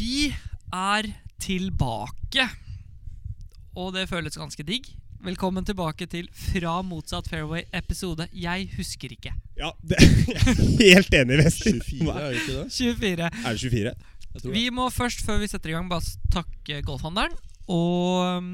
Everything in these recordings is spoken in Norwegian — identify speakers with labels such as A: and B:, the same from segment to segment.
A: Vi er tilbake. Og det føles ganske digg. Velkommen tilbake til Fra motsatt fairway episode Jeg husker ikke.
B: Ja, det, jeg er helt enig, Wester.
C: 24, er det ikke det?
A: 24.
B: Er det 24?
C: Jeg tror det.
A: Vi må først, før vi setter i gang, bare takke golfhandelen og um,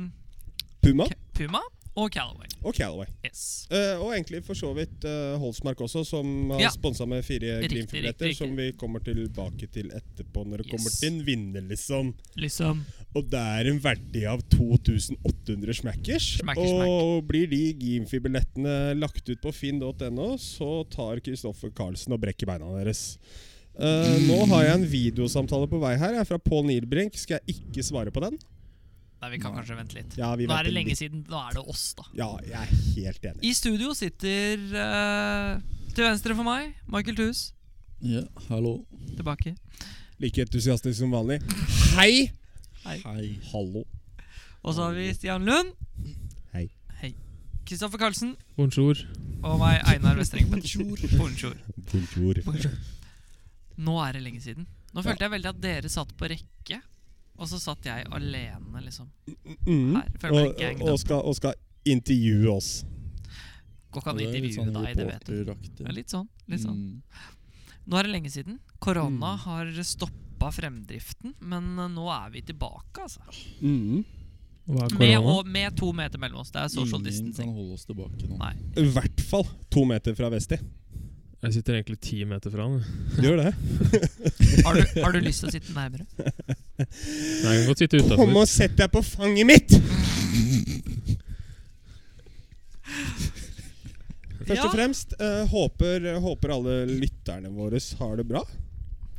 B: Puma
A: K- Puma og Callaway.
B: og Calaway.
A: Yes.
B: Eh, og egentlig for så vidt eh, Holsmark også, som har
A: Ja.
B: sponsa med fire
A: Riktig, riktig,
B: Grim-billetter.
A: riktig.
B: Som vi kommer tilbake til etterpå, når det
A: Yes.
B: kommer til en vinner, liksom.
A: Liksom
B: Og det er en verdi av 2800 smackers.
A: Smacker,
B: og blir de Gimfi-billettene lagt ut på finn.no, så tar Kristoffer Karlsen og brekker beina deres. Eh, Nå har jeg en videosamtale på vei her. Jeg er fra Pål Nilbrink. Skal jeg ikke svare på den?
A: Nei, vi kan kanskje vente litt.
B: Ja, vi
A: Nå er
B: venter
A: det lenge
B: litt.
A: siden. Nå er det oss, da.
B: Ja, jeg er helt enig.
A: I studio sitter eh, til venstre for meg Michael Thues.
C: Ja, hallo.
A: Tilbake.
B: Like entusiastisk som vanlig. Hei!
C: Hei.
B: Hallo.
A: Og så har vi Stian Lund.
B: Hei.
A: Hei. Kristoffer Karlsen.
D: Bonjour.
A: Og meg, Einar Vestreng Pettersjord. Bonjour.
B: Bonjour.
A: Nå er det lenge siden. Nå følte jeg veldig at dere satt på rekke, og så satt jeg alene, liksom.
B: Mm.
A: Her, føler meg
B: Og,
A: ikke
B: og,
A: hengende.
B: skal, og skal intervjue oss.
A: Går ikke an å
C: sånn
A: intervjue deg, det vet du. Ja, Litt sånn. litt sånn. Nå er det lenge siden. Korona
C: Mm.
A: har stoppa fremdriften, men eh, nå er vi tilbake, altså.
D: Hva er
A: Med,
D: korona?
A: og, med to meter mellom oss. Det er social distancing.
C: Ingen kan holde oss tilbake nå.
A: Nei.
B: I hvert fall to meter fra Vesti.
D: Jeg sitter egentlig ti meter fra han. jeg.
B: Gjør det.
A: Har du, har du lyst til å sitte nærmere?
D: Nei, jeg kan godt sitte
B: Kom
D: utenfor.
B: og sett deg på fanget mitt! Først og
A: Ja.
B: fremst eh, håper, håper alle lytterne våre har det bra.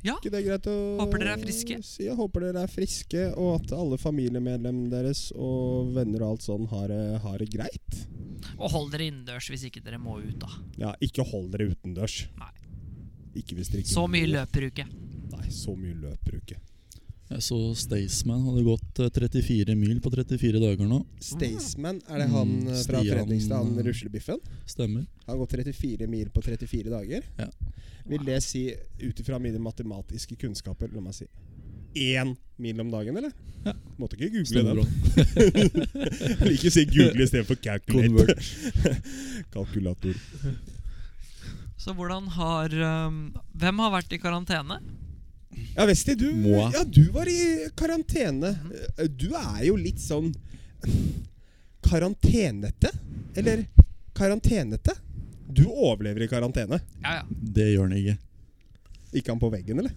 A: Ja.
B: Ikke det er greit å
A: Håper dere er friske.
B: Si, jeg håper dere er friske, og at alle familiemedlemmene deres og venner og alt sånn har, det- har det greit.
A: Og hold dere innendørs hvis ikke dere må ut, da.
B: Ja, ikke hold dere utendørs.
A: Nei.
B: Ikke hvis dere ikke
A: Så mye løperuke.
B: Nei, så mye løp dere ikke.
C: Jeg så Staysman hadde gått eh, 34 mil på 34 dager nå.
A: Mm.
B: Staysman, er det han
C: Mm,
B: eh, fra
C: Stian,
B: Fredrikstad, han
C: eh,
B: ruslebiffen?
C: Stemmer.
B: Han har gått 34 mil på 34 dager.
C: Ja.
B: Vil det si, ut ifra mine matematiske kunnskaper, la meg si én mil om dagen, eller?
C: Ja.
B: Måtte ikke google
C: Stemmer
B: den.
C: bra.
B: Jeg liker å si google istedenfor calculate.
C: Convert.
B: Kalkulator.
A: Så hvordan har um, Hvem har vært i karantene?
B: Ja, Vesti, du,
C: Moi.
B: ja, du var i karantene. Eh, Du er jo litt sånn karantenete. Eller karantenete. Du overlever i karantene.
A: Ja, ja.
C: Det gjør han ikke.
B: Gikk han på veggen, eller?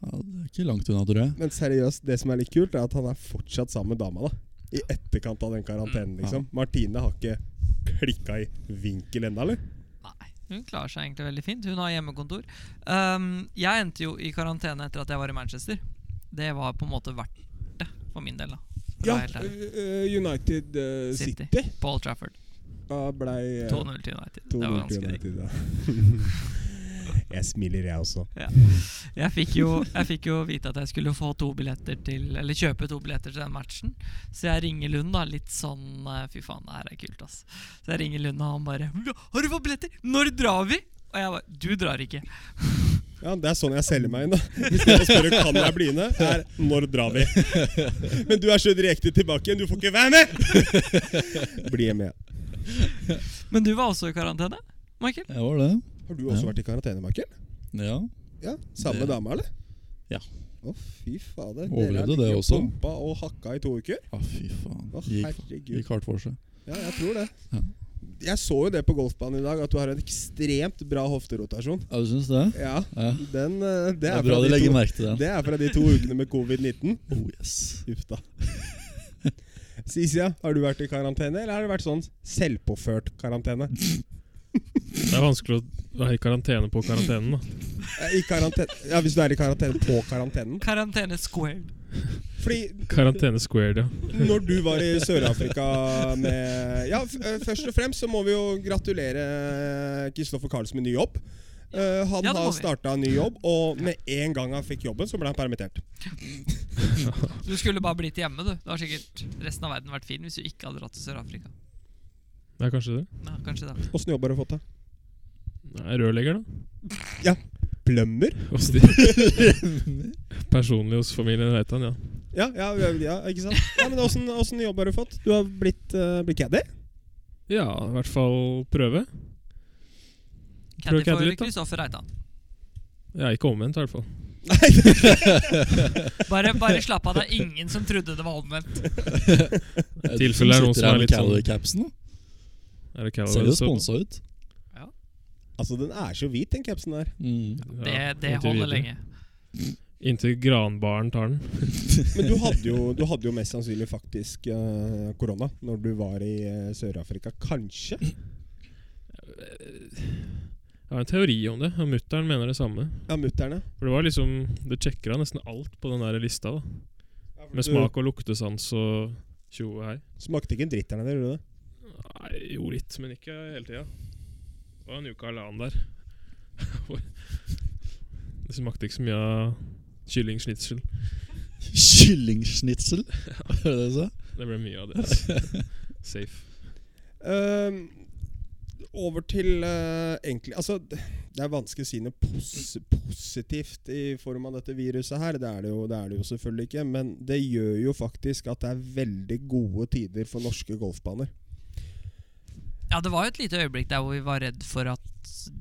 C: Ja, det er ikke langt unna, tror jeg.
B: Men seriøst, det som er litt kult, er at han er fortsatt sammen med dama, da. I etterkant av den karantenen,
C: Mm.
B: liksom. Martine har ikke klikka i vinkel ennå, eller?
A: Nei, hun klarer seg egentlig veldig fint. Hun har hjemmekontor. Um, jeg endte jo i karantene etter at jeg var i Manchester. Det var på en måte verdt det for min del, da. For å være helt ærlig.
B: eh, United eh,
A: City. På Old Trafford.
B: Da eh, blei
A: 2-0 til United. Det var ganske digg.
B: United, da. jeg smiler, jeg også.
A: Ja. Jeg, fikk jo, jeg fikk jo vite at jeg skulle få to billetter til Eller kjøpe to billetter til den matchen. Så jeg ringer Lund, da. Litt sånn eh, Fy faen, det her er kult, ass. Så jeg ringer Lund, og han bare «Ja, 'Har du fått billetter? Når drar vi?' Og jeg bare 'Du drar ikke'.
B: Ja, Det er sånn jeg selger meg inn. da I stedet for å spørre kan jeg bli med, er når drar vi? Men du er så direkte tilbake igjen. Du får ikke være med! Bli med.
A: Men du var også i karantene, Michael?
C: Jeg var det.
B: Har du også
C: Ja.
B: vært i karantene, Michael?
C: Ja.
B: Ja, Samme
C: Det-
B: dama, eller?
C: Ja.
B: Å, fy fader. Dere har
C: Overlevde det
B: ligget
C: også?
B: Pumpa og hakka i to uker?
C: Å, fy faen.
B: Å,
C: Gikk,
B: herregud.
C: gikk hardt for seg.
B: Ja, jeg tror det.
C: Ja.
B: Jeg så jo det på golfbanen i dag, at du har en ekstremt bra hofterotasjon.
C: Ja, du syns det?
B: Ja,
C: Ja.
B: den, eh, det,
C: Det
B: er fra
C: er bra de
B: de
C: legger
B: to,
C: merke til den.
B: det er fra de to ukene med covid-19.
C: Oh, yes.
B: Uff da. Sisia, har du vært i karantene, eller har det vært sånn selvpåført karantene?
D: Det er vanskelig å være i karantene på karantenen. da.
B: Eh, I karantene Ja, hvis du er i karantene på karantenen.
A: Karantene squared.
B: Fordi
D: Karantene squared, ja.
B: når du var i Sør-Afrika med Ja, f eh, først og fremst så må vi jo gratulere Kristoffer Karlsen med ny jobb. Eh, han
A: Ja, det må
B: har
A: vi.
B: starta ny jobb, og med en gang han fikk jobben, så ble han permittert.
A: Du skulle bare blitt hjemme, du. Det har sikkert resten av verden vært fin hvis du ikke hadde dratt til Sør-Afrika.
D: Det er kanskje det.
A: Ja, kanskje det.
B: Åssen jobb har du fått, da?
D: Nei, Rørlegger, da.
B: Plømmer?
D: Hos de. Personlig hos familien Reitan, ja.
B: Ja, ja, ja, ja ikke sant? Ja, men åssen- Åssen jobb har du fått? Du har blitt, uh, blitt caddy?
D: Ja, i hvert fall prøve.
A: Caddy
D: Prøv caddy
A: for
D: litt, da.
A: Kristoffer Reitan.
D: Ja, ikke omvendt, i hvert fall.
A: Bare, bare slapp av, det er ingen som trodde det var omvendt.
D: tilfelle er det noen som er litt sånn-
C: sånn
D: Er det
C: Ser jo
D: Callaway, så-
C: sponsa ut.
B: Altså, den er så hvit, den capsen der.
C: Mm.
D: Ja,
A: Det, det
D: inntil
A: holder
D: videre.
A: lenge.
D: Inntil granbaren tar den.
B: Men du hadde jo, du hadde jo mest sannsynlig faktisk eh, korona når du var i eh, Sør-Afrika. Kanskje?
D: Jeg har en teori om det, og mutter'n mener det samme.
B: Ja, mutter'n,
D: For det var liksom Du sjekka nesten alt på den der lista, da.
B: ja.
D: Med smak og luktesans og tjo og hei.
B: Du smakte ikke en dritt der nede, gjorde du det?
D: Nei, jo litt, men ikke hele tida. Det var en uke og halvannen der. Hvor- det smakte ikke så mye av kyllingslitsel.
C: Kyllingsnitsel, var det det du sa?
D: Det ble mye av det. Safe.
B: Ehm, over til eh, egentlig Altså, d- det er vanskelig å si noe pos positivt i form av dette viruset her. Det er det, jo, det er det jo selvfølgelig ikke. Men det gjør jo faktisk at det er veldig gode tider for norske golfbaner.
A: Ja, det var jo et lite øyeblikk der hvor vi var redd for at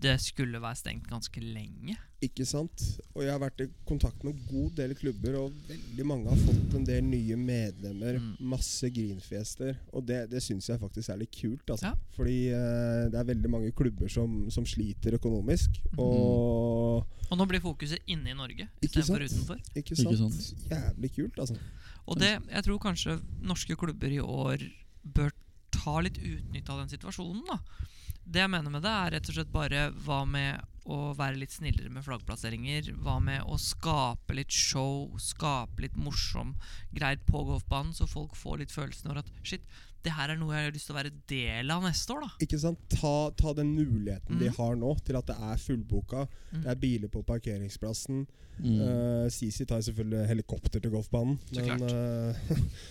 A: det skulle være stengt ganske lenge.
B: Ikke sant? Og jeg har vært i kontakt med en god del klubber, og veldig mange har fått en del nye medlemmer.
A: Mm.
B: Masse grinfjester. Og det, det syns jeg faktisk er litt kult. Altså.
A: Ja.
B: Fordi eh, det er veldig mange klubber som, som sliter økonomisk.
A: Mm.
B: Og
A: Og nå blir fokuset inne i Norge
B: Ikke
A: istedenfor
B: sant?
A: utenfor.
B: Ikke sant?
C: sant?
B: Jævlig kult, altså.
A: Og det, jeg tror kanskje norske klubber i år bør ta litt utnytt av den situasjonen. da. Det jeg mener med det, er rett og slett bare hva med å være litt snillere med flaggplasseringer? Hva med å skape litt show, skape litt morsom greit på golfbanen, så folk får litt følelsen av at shit, det her er noe jeg har lyst til å være del av neste år, da.
B: Ikke sant? Ta, ta den muligheten de
A: Mhm.
B: har nå til at det er fullboka.
A: Mhm.
B: Det er biler på parkeringsplassen.
C: Mm.
B: Eh, CC tar selvfølgelig helikopter til golfbanen.
A: Så klart.
B: eh,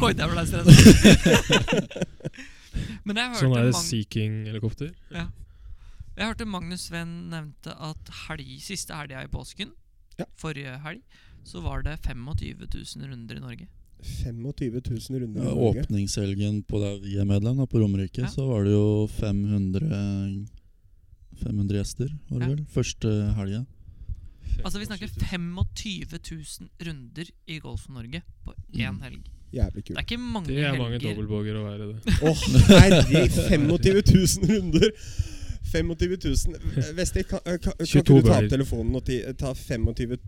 A: Oi, der ble jeg stresset. Men jeg hørte
D: Sånn er det
A: mange-
D: Sea King-helikopter.
A: Jeg hørte Magnus Sven nevnte at helg, siste helga i påsken,
B: Ja.
A: forrige helg, så var det 25 000 runder i Norge.
B: 25 000 runder i
C: Ja,
B: Norge.
C: Åpningshelgen på der vi er medlem, da, på Romerike,
A: Ja.
C: så var det jo 500 500 gjester, var det
A: Ja.
C: vel? Første helga.
A: Altså Vi snakker 25 000 runder i Golf Norge på én
C: Mm.
A: helg. Det
B: Jævlig kult.
A: er ikke mange
D: Det er mange
A: helger.
D: dobbeltboger å være det.
B: Åh, herre, 25 000 runder! 25 000 Vesti, kan, kan, kan ikke
D: 22
B: du ta opp
D: bøyer.
B: telefonen og ti, ta 25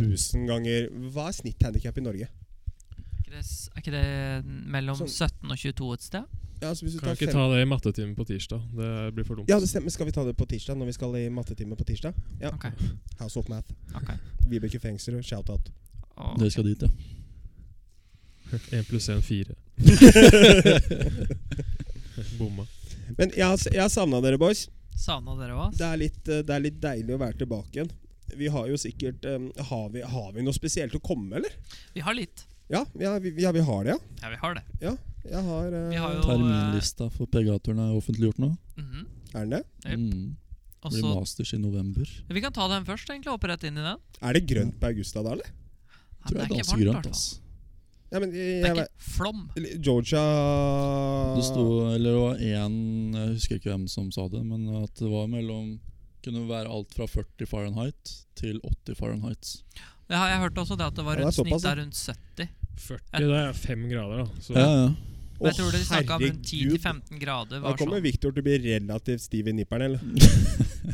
B: 000 ganger Hva er snitthandikap i Norge?
A: Er ikke det, s- er ikke det mellom
B: Sånn.
A: 17 og 22 et sted?
B: Ja, altså hvis du
D: Kan
B: tar
D: jeg ikke
B: fem-
D: ta det i mattetimen på tirsdag. Det blir for dumt.
B: ja, det stemmer. Skal vi ta det på tirsdag, når vi skal i mattetime på tirsdag? Ja.
A: Ok,
B: House of Math.
A: ok
B: Vibeke Fengsrud, shout-out.
A: Og-
C: Dere skal dit, ja.
D: Én pluss én, fire. Bomma.
B: Men jeg, har- jeg har savna dere, boys.
A: Savna dere òg?
B: Det er, litt, eh, det er litt deilig å være tilbake igjen. Vi har jo sikkert eh, har, vi, har vi noe spesielt å komme med, eller?
A: Vi har litt.
B: Ja, vi har- vi, ja, vi har det, ja.
A: Ja, vi har det.
B: Jeg har, eh,
A: Vi har jo
C: Terminlista for PGA-turen er offentliggjort nå.
A: Mhm.
B: Er den det?
A: Jep.
C: Mm.
A: Og
C: Blir
A: så-
C: masters i november.
A: Vi kan ta den først, egentlig. Hoppe rett inn i den.
B: Er det grønt på Augusta da, eller?
A: Ja,
C: Tror
A: det
C: jeg
A: er ikke varmt,
C: danser
A: i hvert
C: grønt, altså.
A: fall.
C: ass.
B: Ja, men jeg,
A: Det er
B: jeg,
A: ikke flom.
B: vet- Georgia
C: Det sto, eller det var én, jeg husker ikke hvem som sa det, men at det var mellom Kunne være alt fra 40 Fahrenheit til 80 Fahrenheit.
A: Jeg har, jeg hørte også det at det var
B: Ja, det er
A: rundt
B: såpass,
A: snitt
B: ja.
A: er rundt 70.
D: 40 det er fem grader, da. Så
C: Ja, ja.
A: Men jeg tror de snakka om rundt
B: herregud.
A: 10-15 grader.
B: Da
A: Var
B: kommer
A: sånn.
B: Victor til å bli relativt stiv i nipperen, eller?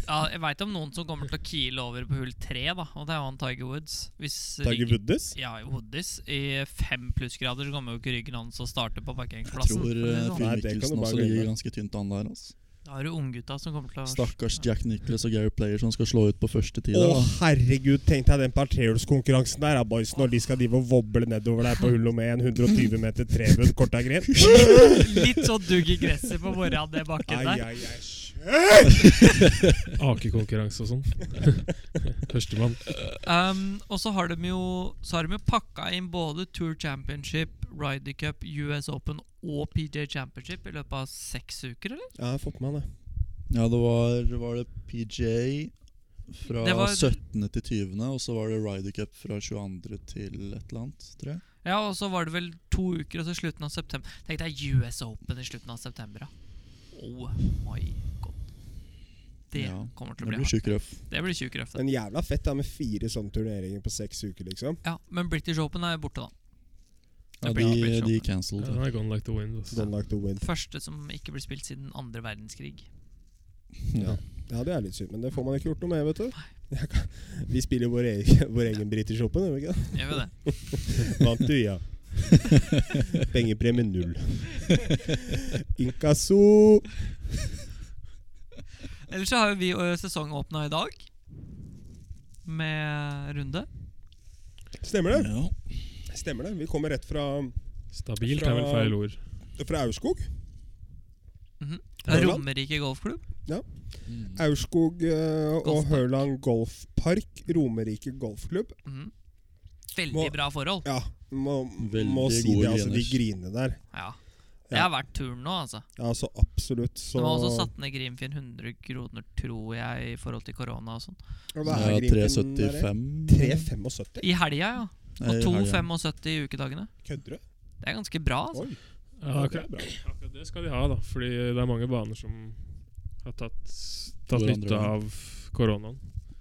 A: ja, jeg veit om noen som kommer til å kile over på hull 3, da, og det er jo han Tiger Woods. Hvis
B: Tiger
A: ryggen-
B: Woods?
A: Ja, i Woodies. I fem plussgrader så kommer jo ikke ryggen hans å starte på
C: Jeg
A: parkeringsplassen.
C: tror
A: for å si det
C: eh,
A: sånn.
B: Nei, det kan du bare
C: filmmikkelsen også
B: glemme.
C: ligger ganske tynt an der. Altså.
A: Da har du unggutta som kommer til å
C: Stakkars Jack Nicholas og Gary Player som skal slå ut på første tid.
B: Å,
C: der, da.
B: herregud, tenk deg den parterhjulskonkurransen der, da, boys, når de skal drive og voble nedover der på hullet med en 120 meter trebunn, kort og greit.
A: Litt sånn dugg i gresset på morgenen, det bakken
B: Ai,
A: der.
B: ai, ai, sj-
D: akekonkurranse og sånn. Førstemann.
A: Um, og så har de jo Så har de jo pakka inn både Tour Championship, Ryder Cup, US Open og PJ Championship i løpet av seks uker, eller?
B: Ja, jeg har fått med meg det.
C: Ja, det var, var det PJ fra
A: Det var-
C: 17. til 20., og så var det Ryder Cup fra 22. til et eller annet, tror jeg.
A: Ja, og så var det vel to uker, og så slutten av september. Tenk deg US Open i slutten av september, da. Oh my god. Det
C: Ja,
A: kommer til
C: Det
A: å bli
C: blir
A: hardt.
C: sjuk røff.
A: Det blir tjukk røft. det.
B: Men jævla fett da med fire sånne turneringer på seks uker, liksom.
A: Ja, men British Open er borte, da.
C: Ja,
A: Det
C: de
A: blir- det blir
C: de
A: sjokk.
D: Ja,
C: cancelled.
D: den er gone like the wind. Altså.
B: Don't like Sånn to win.
A: Første som ikke ble spilt siden andre verdenskrig.
C: Ja.
B: Ja, det er litt synd, men det får man ikke gjort noe med, vet du. Jeg kan, vi spiller vår egen, vår egen British Open, gjør vi ikke det?
A: Gjør vi det?
B: Vant du, ja. Pengepremie null. Inkasso!
A: Ellers så har jo vi ø, sesongåpna i dag. Med runde.
B: Stemmer det?
C: Ja.
B: Stemmer det. Vi kommer rett fra,
D: Stabilt er vel
B: Fra-
D: feil ord.
B: fra Aurskog. Høyland?
A: Romerike golfklubb.
C: Mm.
B: Aurskog eh, og
A: Golfpark.
B: Hørland golfpark, Romerike golfklubb.
A: Mhm. Veldig
B: Må-
A: bra forhold.
B: Ja, må, må
C: Veldig
B: si
C: gode
B: det. Altså, de grinene der.
A: Ja. Det
B: Ja.
A: har vært turen nå, altså.
B: Ja, så absolutt. Så
A: De har også satt ned Grimfinn 100 kroner, tror jeg, i forhold til korona og sånn.
B: Ja, hva er
C: Ja,
B: Grimfinn der, eh?
C: 375.
B: 3,75?
A: I helga, ja.
C: Nei,
A: Og
C: i helgen.
A: 2,75 i ukedagene.
B: Kødder du?
A: Det er ganske bra. altså.
B: Oi.
D: Ja,
B: det
D: akkurat,
B: er bra.
D: akkurat det skal de ha, da. Fordi det er mange baner som har tatt, tatt
C: Går andre
D: nytte
C: veien.
D: av koronaen.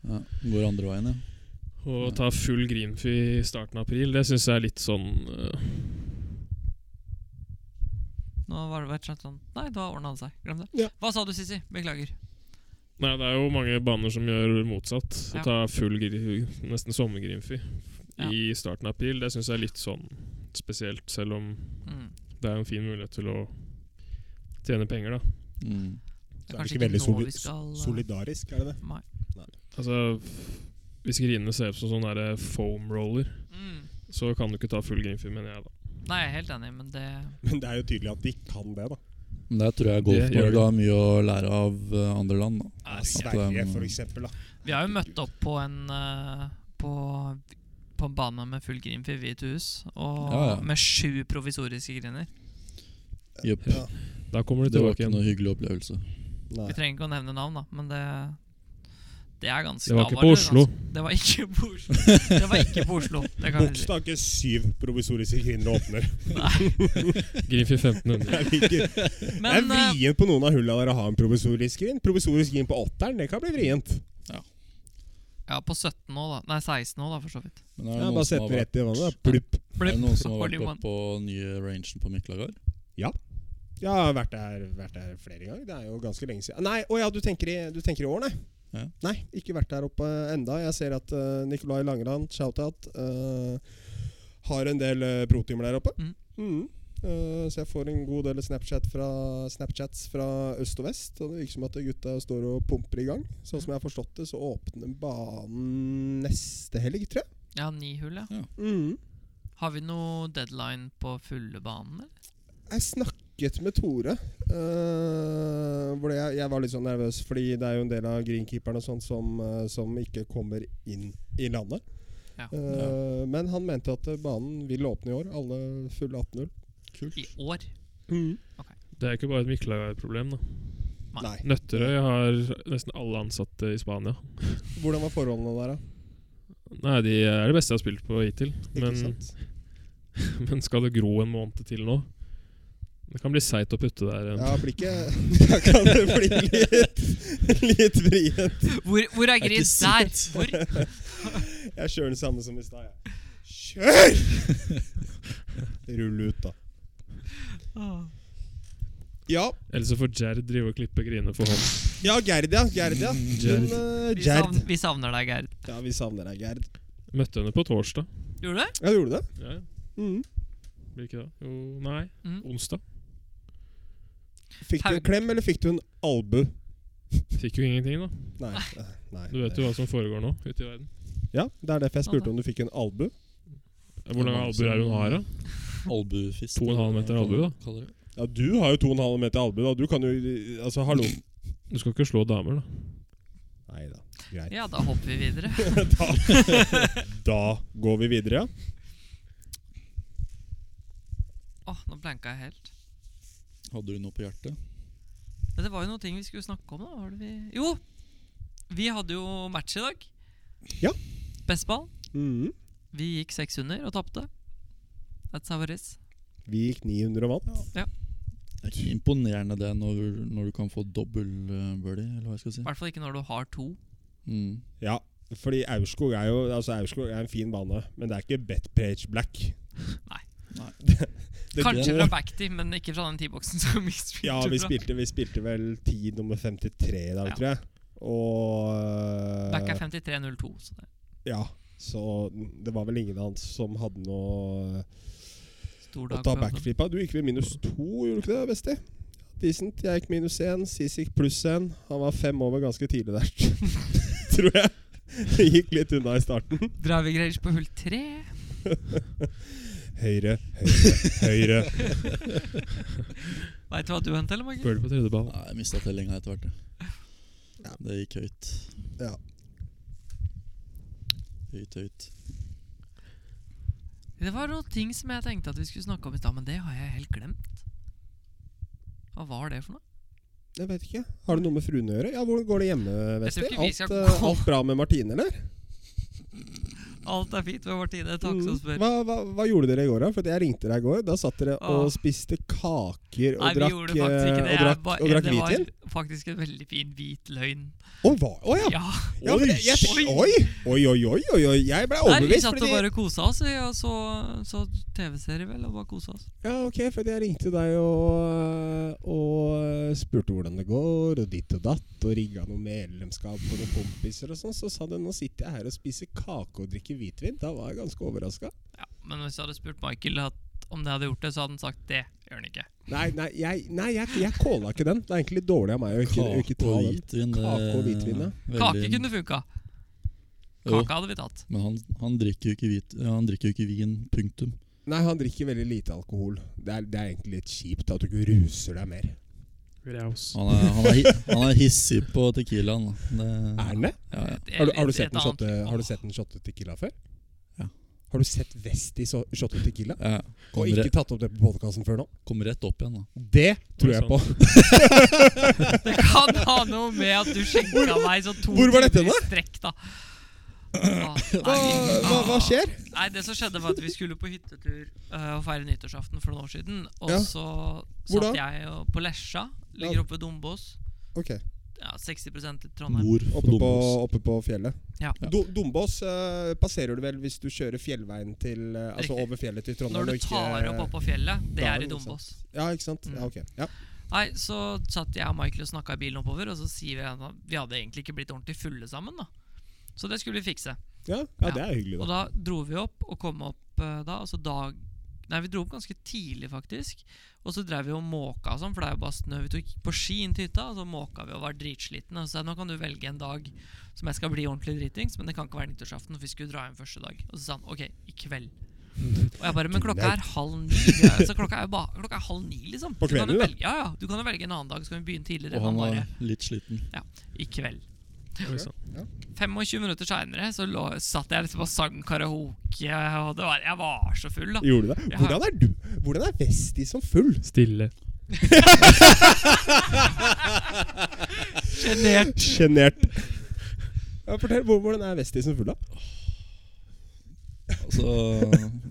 C: Ja, går andre veien, ja.
D: Å
C: Ja.
D: ta full greenfy i starten av april, det syns jeg er litt sånn øh,
A: Nå var det vært sånn Nei, da ordna det seg. Glem det.
B: Ja.
A: Hva sa du, Sissi? Beklager.
D: Nei, det er jo mange baner som gjør motsatt.
A: Ja.
D: Å ta full, gri- nesten sommergreenfy
A: Ja.
D: i starten av april, det syns jeg er litt sånn spesielt. Selv om
A: Mm.
D: det er en fin mulighet til å tjene penger, da.
C: Mm.
A: Det er
B: Så er det
A: kanskje
B: ikke veldig
A: ikke nå
B: soli-
A: vi skal uh,
B: Solidarisk, er det det?
A: Nei.
D: Altså, hvis grinene ser ut som sånn derre foam roller,
A: Mm.
D: så kan du ikke ta full greenfy, mener jeg, da.
A: Nei, jeg er helt enig, men det
B: Men det er jo tydelig at de kan det, da.
C: Men der tror jeg
D: Det
C: Golf-Norge
D: gjør det.
C: har mye å lære av eh, andre land. Da.
A: er
C: At,
B: Sverige,
C: um,
B: for eksempel. Da.
A: Vi har jo møtt opp på en eh, på, på en bane med full grin for hvit hus, og
C: Ja, ja.
A: med sju provisoriske griner.
C: Jepp.
B: Ja.
D: Da kommer de
C: Det var
D: tilbake
C: ikke
D: igjen.
C: noe hyggelig opplevelse.
A: Vi
B: Nei.
A: trenger ikke å nevne navn, da, men det det er ganske
D: Det var
A: da
D: ikke på
A: det
D: Oslo.
A: ganske- Det var ikke på Oslo. Det var ikke på Oslo. Det kan vi si.
B: Bogstad har ikke syv provisoriske kvinner og åpner.
D: Greenfy 1500.
B: Jeg liker- Det er
A: Men eh,
B: vrient på noen av hullene der å ha en provisorisk grin. Provisorisk grin på åtteren, det kan bli vrient.
A: ja, på 17 nå, da. Nei, 16 nå, da, for så vidt.
C: Men er det,
B: Ja,
C: noen
B: bare
C: som
B: sett
C: har
B: den
C: vært,
B: rett i vannet. da. Plupp.
C: er det noen som har
A: Hole
C: vært
A: in
C: oppe på nye rangen på Miklagard?
B: Jeg har vært der, vært der flere ganger. Det er jo ganske lenge siden. Nei, å ja, du tenker i, du tenker i år, nei?
C: Ja.
B: Nei, ikke vært der oppe enda. Jeg ser at uh, Nikolai Langeland, shout-out, eh, har en del eh, protimer der oppe.
A: Mm.
B: Mhm. Eh, så jeg får en god del Snapchat fra, Snapchats fra øst og vest. Og det virker som at gutta står og pumper i gang. Sånn som jeg har forstått det, så åpner banen neste helg, tror jeg.
A: Ja, ni hull, ja.
B: Mhm.
A: Har vi noe deadline på fulle banen, eller?
B: Jeg snakket med Tore. eh, hvor jeg, jeg var litt sånn nervøs, fordi det er jo en del av greenkeeperne og sånn som, eh, som ikke kommer inn i landet.
A: Ja.
B: Eh, Men han mente at eh, banen vil åpne i år. Alle fulle 18-0.
A: I år?
D: Det er ikke bare et Miklagard-problem, da.
A: Nei.
B: Nei.
D: Nøtterøy har nesten alle ansatte i Spania.
B: Hvordan var forholdene der, da?
D: Nei, de er det beste jeg har spilt på hittil.
B: Ikke
D: Men,
B: sant?
D: men skal det gro en måned til nå? Det kan bli seigt å putte der. En.
B: Ja, blir ikke Da kan det bli litt, litt vrient.
A: Hvor, hvor er Gris der? Hvor?
B: Jeg kjører den samme som i stad, jeg. Kjør! Rull ut, da. Ja,
D: Ellers så får Jared drive og klippe griner for hånd.
B: ja Gerd, ja. Gerd, ja. Men,
D: Jared.
B: eh,
A: Vi,
B: Gerd
A: savner, vi savner deg, Gerd.
B: Ja, vi savner deg, Gerd.
D: Møtte henne på torsdag.
A: Gjorde du det?
B: Ja, gjorde du det?
D: Ja, ja.
B: Mm.
D: blir ikke det? Jo, nei.
A: Mm.
D: Onsdag.
B: Fikk du en
A: Haug.
B: klem, eller fikk du en albu?
D: Fikk jo ingenting, da.
B: Nei. eh, nei.
D: Du vet jo hva som foregår nå ute i verden.
B: Ja, Det er derfor jeg spurte om du fikk en albu.
D: Hvor lange albuer er det hun har, da?
C: Albuefist.
D: To og en halv meter albu, da.
C: Kaller det.
B: Ja, Du har jo 2,5 meter albu, da. Du kan jo Altså, hallo.
D: Du skal ikke slå damer, da.
B: Nei da. Greit.
A: Ja, da hopper vi videre.
B: da, da går vi videre, ja.
A: Åh, nå blanka jeg helt.
C: Hadde du noe på hjertet?
A: Men det var jo noen ting vi skulle snakke om, da. Var det vi Jo! Vi hadde jo match i dag.
B: Ja.
A: Bestball. Mm.
B: Mhm.
A: Vi gikk seks under og tapte. That's how it is.
B: Vi gikk 900 og vant.
C: Det er ikke imponerende det når, når du kan få dobbel eh, birdie, eller hva jeg skal si.
A: I hvert fall ikke når du har to.
C: Mm.
B: Ja, fordi Aurskog er jo Altså Aurskog er en fin bane, men det er ikke Betpage Black.
A: Nei.
C: Nei.
B: Det
A: Kanskje
B: går-
A: fra backtid, men ikke fra den T-boksen som vi spilte
B: Ja, vi
A: fra.
B: spilte, vi spilte vel 10 nummer 53 i dag,
A: Ja.
B: tror jeg. Og øh,
A: Back er 53-02. Så det er
B: Ja, så det var vel ingen hans som hadde noe
A: stor
B: å
A: dag.
B: ta
A: for Øvrum.
B: backflip av. Du gikk vel minus to, gjorde du ikke det, Vesti? Decent. Jeg gikk minus én, Sis gikk pluss én. Han var fem over ganske tidlig der, tror jeg. Det gikk litt unna i starten.
A: Driving range på hull tre.
B: Høyre, høyre, høyre.
A: Veit du hva du hentet, eller, Magnus?
D: Birdie på tredje ball.
C: Nei, jeg mista tellinga etter hvert. Ja. Det gikk høyt.
B: Ja.
C: Høyt, høyt.
A: Det var noen ting som jeg tenkte at vi skulle snakke om i stad, men det har jeg helt glemt. Hva var det for noe?
B: Jeg vet ikke. Har det noe med fruene å gjøre? Ja, Hvordan går det hjemme,
A: tror
B: Vesti?
A: ikke vi
B: Alt,
A: skal
B: eh,
A: gå-
B: alt bra med Martine, eller?
A: Alt er fint ved vår tide. Takk som
B: Mm.
A: spør.
B: Hva, hva, hva gjorde dere i går, da? For at jeg ringte deg i går. Da satt dere og
A: Åh.
B: spiste kaker og
A: Nei, vi
B: drakk, eh,
A: gjorde faktisk ikke det.
B: og
A: Jeg
B: drakk,
A: bare-
B: og drakk
A: det var
B: hvitvin.
A: faktisk en veldig fin hvit løgn.
B: Å hva- å, ja.
A: Ja.
B: ja men jeg, jeg,
A: Oi.
B: oi, oi, oi, oi, oi, oi. Jeg ble
A: Nei, vi
B: overbevist.
A: satt og
B: Fordi,
A: bare kosa oss vi, og så, så TV-serie, vel, og bare kosa oss.
B: ja, ok, fordi jeg ringte deg og, eh, og spurte hvordan det går, og ditt og datt, og rigga noe medlemskap for noen kompiser og sånn. Så sa du nå sitter jeg her og spiser kake og drikker hvitvin. Da var jeg ganske overraska.
A: Ja, men hvis jeg hadde spurt Michael at, om det hadde gjort det, så hadde han sagt det gjør han ikke.
B: Nei, nei, jeg, nei jeg, jeg calla ikke den. Det er egentlig dårlig av meg å ikke,
C: Kake
B: ikke ta
C: og
B: den.
C: hvitvin. det-
B: Kake og hvitvin, ja.
C: veldig-
A: Kake kunne funka.
C: Jo,
A: Kake hadde vi tatt.
C: Men han, han drikker jo ikke hvit ja, Han drikker jo ikke vin, punktum.
B: Nei, han drikker veldig lite alkohol. Det er, det er egentlig litt kjipt at du ikke ruser deg mer.
D: Raus.
C: Han er, han er, hi- han er hissig på Tequilaen. da. Det-
B: Er han det?
C: Ja, ja.
A: Det er
B: Har du, har du
A: litt-
B: sett
A: et
B: den
A: annet-
B: shotte, har du
A: Åh,
B: sett den shotte tequila før?
C: Ja.
B: Har du sett Vest i so- shotte tequila?
C: Ja,
B: Og
C: Kom,
B: ikke
C: re,
B: tatt opp det på podkasten før nå?
C: kom rett opp igjen, da.
B: Det tror
D: Oi,
B: jeg på.
A: Det kan ha noe med at du skjenka meg sånn to
B: hvor var dette
A: timer i strekk, da. Ah,
B: Hva,
A: nei,
B: hva, hva
A: ah.
B: skjer?
A: Nei, det som skjedde var at vi skulle på hyttetur eh, og feire nyttårsaften for noen år siden. Og
B: Ja.
A: så
B: Hvor da?
A: satt jeg jo på Lesja, ligger
B: Ja.
A: oppe ved Dombås.
B: Ok,
A: Ja, 60 i Trondheim.
C: Mor for
B: Oppe på,
C: dummos.
B: oppe på fjellet.
A: Ja.
B: Do, Dombås eh, passerer du vel hvis du kjører fjellveien til eh, Altså
A: Riktig.
B: over fjellet til Trondheim.
A: Når
B: og
A: du
B: ikke-
A: tar opp oppå fjellet, det
B: Da
A: er
B: er
A: i
B: det noe
A: Dombås.
B: Ja, ikke sant?
A: Mm.
B: Ja, ok. Ja.
A: Nei, så satt jeg og Michael og snakka i bilen oppover, og så sier vi at vi hadde egentlig ikke blitt ordentlig fulle sammen, da. Så det skulle vi fikse.
B: Ja, ja, det er hyggelig,
A: Og
B: da.
A: da dro vi opp og kom opp eh, da, altså dag Nei, vi dro opp ganske tidlig, faktisk. Og så drev vi og måka og sånn, for det er jo bare snø. Vi tok på ski inn til hytta, og så måka vi og var dritslitne. Og så sa jeg nå kan du velge en dag som jeg skal bli ordentlig dritings, men det kan ikke være nyttårsaften, for vi skulle dra hjem første dag. Og så sa han OK, i kveld. Og jeg bare Men klokka er halv ni. vi er- Så klokka er jo bare klokka er halv ni, liksom.
B: På
A: Du kan jo
B: kvelden, da?
A: velge- Ja, ja. Du kan jo velge en annen dag, så kan vi begynne tidligere.
C: Og han
A: bare,
C: var litt sliten.
A: I kveld.
D: Oi, sann.
A: 25 minutter seinere så lå, satt jeg liksom og sang karaoke, og det var, jeg var så full, da.
B: Gjorde du det?
A: Ja.
B: Hvordan er du? Hvordan er Vesti som full?
D: Stille.
A: Sjenert.
B: Sjenert. Ja, fortell, hvor- hvordan er Vesti som full, da?
C: Altså,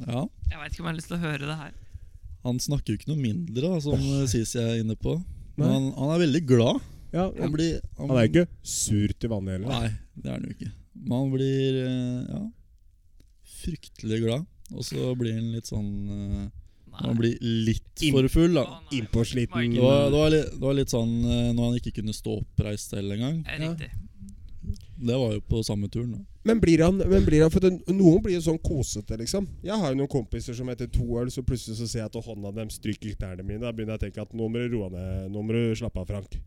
C: ja.
A: Jeg veit ikke om jeg har lyst til å høre det her.
C: Han snakker jo ikke noe mindre, da, som eh, Sisi er inne på.
B: Nei.
C: Men han, han er veldig glad.
B: Ja,
C: Han, blir, han,
B: Han er jo ikke sur til vanlig heller. da.
C: Nei, det er han jo ikke. Men han blir eh, ja, fryktelig glad. Og så blir han litt sånn eh,
A: Nei.
C: Han blir litt
B: Im-
C: for full, da.
A: Å, nei.
B: Innpåsliten
C: Det var, det, var litt, det var litt sånn eh, når han ikke kunne stå oppreist selv engang.
A: Eh, Riktig.
C: Det var jo på samme turen. da
B: Men blir han, men blir han for det, Noen blir jo sånn kosete, liksom. Jeg har jo noen kompiser som etter to øl, så plutselig så ser jeg at hånda dem stryker knærne mine. Da begynner jeg å tenke at nå må du roe ned. Nå må du slappe av, Frank.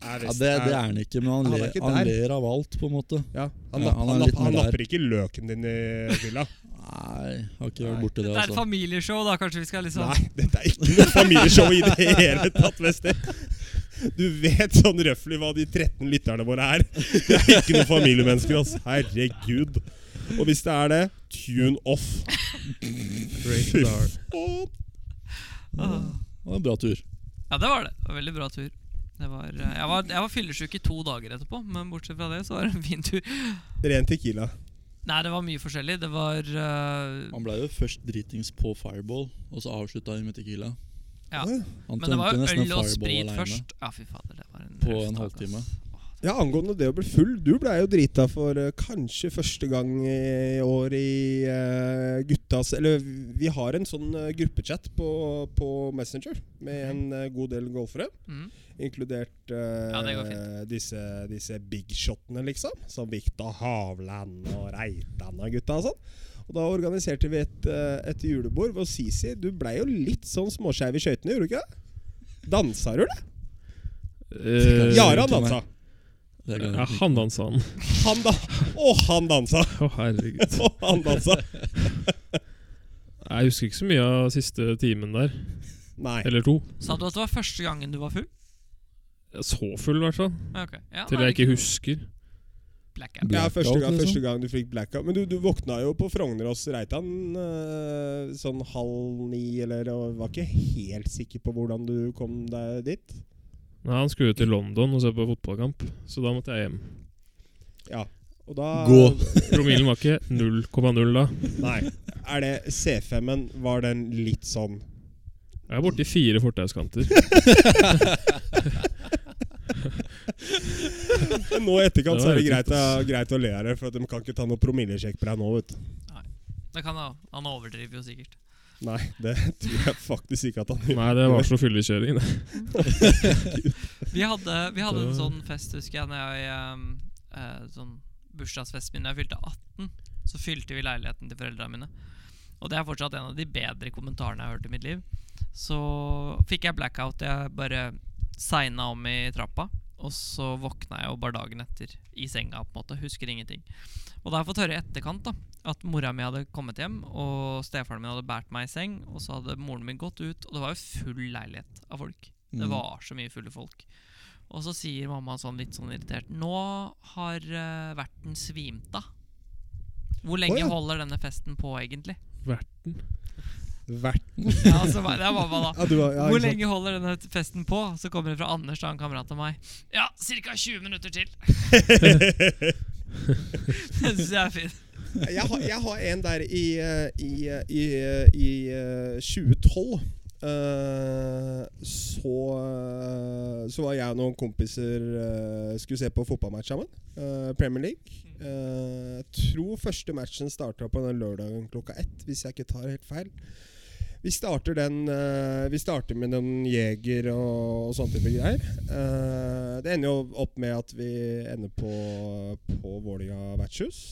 B: Er
C: ja,
B: vest-
C: det, det er han ikke, men han,
B: Han er
C: ler-
B: ikke
C: han
B: der.
C: ler av alt, på en måte.
B: ja, han,
C: Ja,
B: napp,
C: han er
B: han,
C: litt
B: napp, han
C: mer der.
B: napper ikke løken din i fylla.
C: Nei, har ikke
B: Nei.
C: vært borti
A: Det
C: det.
A: er et
C: altså
A: familieshow, da. Kanskje vi skal liksom
B: Nei, dette er ikke noe familieshow i det hele tatt, Vesti. Du vet sånn røffelig hva de 13 lytterne våre er. Det er ikke noen familiemennesker, ass. Herregud. Og hvis det er det, tune off.
D: Great star.
B: Å,
A: Åh.
C: Det var en bra tur.
A: Ja, det var det. det var en veldig bra tur. Det var, eh, jeg var, jeg var fyllesyk i to dager etterpå, men bortsett fra det så var det en fin tur.
B: Ren tequila.
A: Nei, det var mye forskjellig. Det var eh,
C: Han ble jo først dritings på Fireball, og så avslutta han med Tequila.
A: Ja.
C: Han
A: Men det var
C: tømte
A: jo
C: nesten en
A: øl og
C: Fireball
A: sprit
C: alene.
A: først. Ja, fy fader, det var en
C: På
A: røff
C: en
A: dag,
C: halvtime.
A: ass.
B: Ja, Angående det å bli full. Du blei jo drita for eh, kanskje første gang i år i eh, guttas Eller vi har en sånn eh, gruppechat på, på Messenger med en eh, god del golfere.
A: Mm.
B: Inkludert eh,
A: Ja, det går
B: disse, disse bigshotene, liksom. Som Viktor Havland og Reitan og gutta og sånn. Og da organiserte vi et, eh, et julebord hvor Sisi Du blei jo litt sånn småskeiv i skøytene, gjorde du ikke det? Dansa du, eller?
D: Eh,
B: Jara
C: ikke meg.
B: dansa.
C: Det glemmer
D: Ja,
C: jeg ikke.
D: han dansa han.
B: Han da Å, han dansa!
D: Å, herregud.
B: Å, han dansa!
D: Jeg husker ikke så mye av siste timen der.
B: Nei.
D: Eller to.
A: Sa du at det var første gangen du var full?
D: Så full, i hvert fall.
A: Ja, ok. Ja, nei,
D: Til jeg
A: det er
D: ikke husker.
A: noe blackout.
B: Ja,
C: Blackout,
B: første gang,
C: liksom.
B: første gang du fikk blackout. Men du, du våkna jo på Frognerås Reitan eh, sånn halv ni, eller og var ikke helt sikker på hvordan du kom deg dit.
D: Nei, Han skulle jo til London og se på fotballkamp, så da måtte jeg hjem.
B: Ja. Og da
C: Gå.
D: Promillen var ikke 0,0 da.
B: Nei. Er det C5-en? Var den litt sånn
D: Jeg er borti fire fortauskanter.
B: Men nå i etterkant
D: Det
B: så
D: var
B: er det
D: helt
B: greit, å- greit å le av det, for at de kan ikke ta noe promillesjekk på deg nå, vet du.
A: Det kan han, han overdriver jo sikkert.
B: Nei, det tror jeg faktisk ikke at han gjør.
D: Nei, det var så fyllekjøring, det.
A: Vi hadde, vi hadde en
D: Det-
A: sånn fest, husker jeg, når jeg ehm, eh, Sånn bursdagsfest min da jeg fylte 18. Så fylte vi leiligheten til foreldrene mine. Og det er fortsatt en av de bedre kommentarene jeg har hørt i mitt liv. Så fikk jeg blackout. Jeg bare segna om i trappa. Og så våkna jeg jo bare dagen etter i senga, på en måte. Husker ingenting. Og da har jeg fått høre i etterkant da at mora mi hadde kommet hjem, og stefaren min hadde båret meg i seng. Og så hadde moren min gått ut, og det var jo full leilighet av folk. Det
C: Mm.
A: var så mye fulle folk. Og så sier mamma sånn litt sånn irritert Nå har eh, verten svimt av. Hvor lenge
B: Å, ja.
A: holder denne festen på, egentlig?
D: Verten.
B: Vert.
A: Ja, altså, det er mamma, da.
B: Ja, du var, ja,
A: Hvor
B: ikke sant?
A: lenge holder denne festen på? Så kommer det fra Anders, da, en kamerat av meg. Ja, ca. 20 minutter til. det syns jeg er fint.
B: jeg, har, jeg har en der i, eh, i, eh, i, eh, i eh, 2012. Eh, så, eh, så var jeg og noen kompiser eh, skulle se på fotballmatch sammen. eh, Premier League. Eh, Jeg tror første matchen starta på den lørdagen klokka ett, hvis jeg ikke tar helt feil. Vi starter, den, eh, vi starter med noen jeger og, og sånne type greier. Eh, det ender jo opp med at vi ender på, på Vålinga vertshus.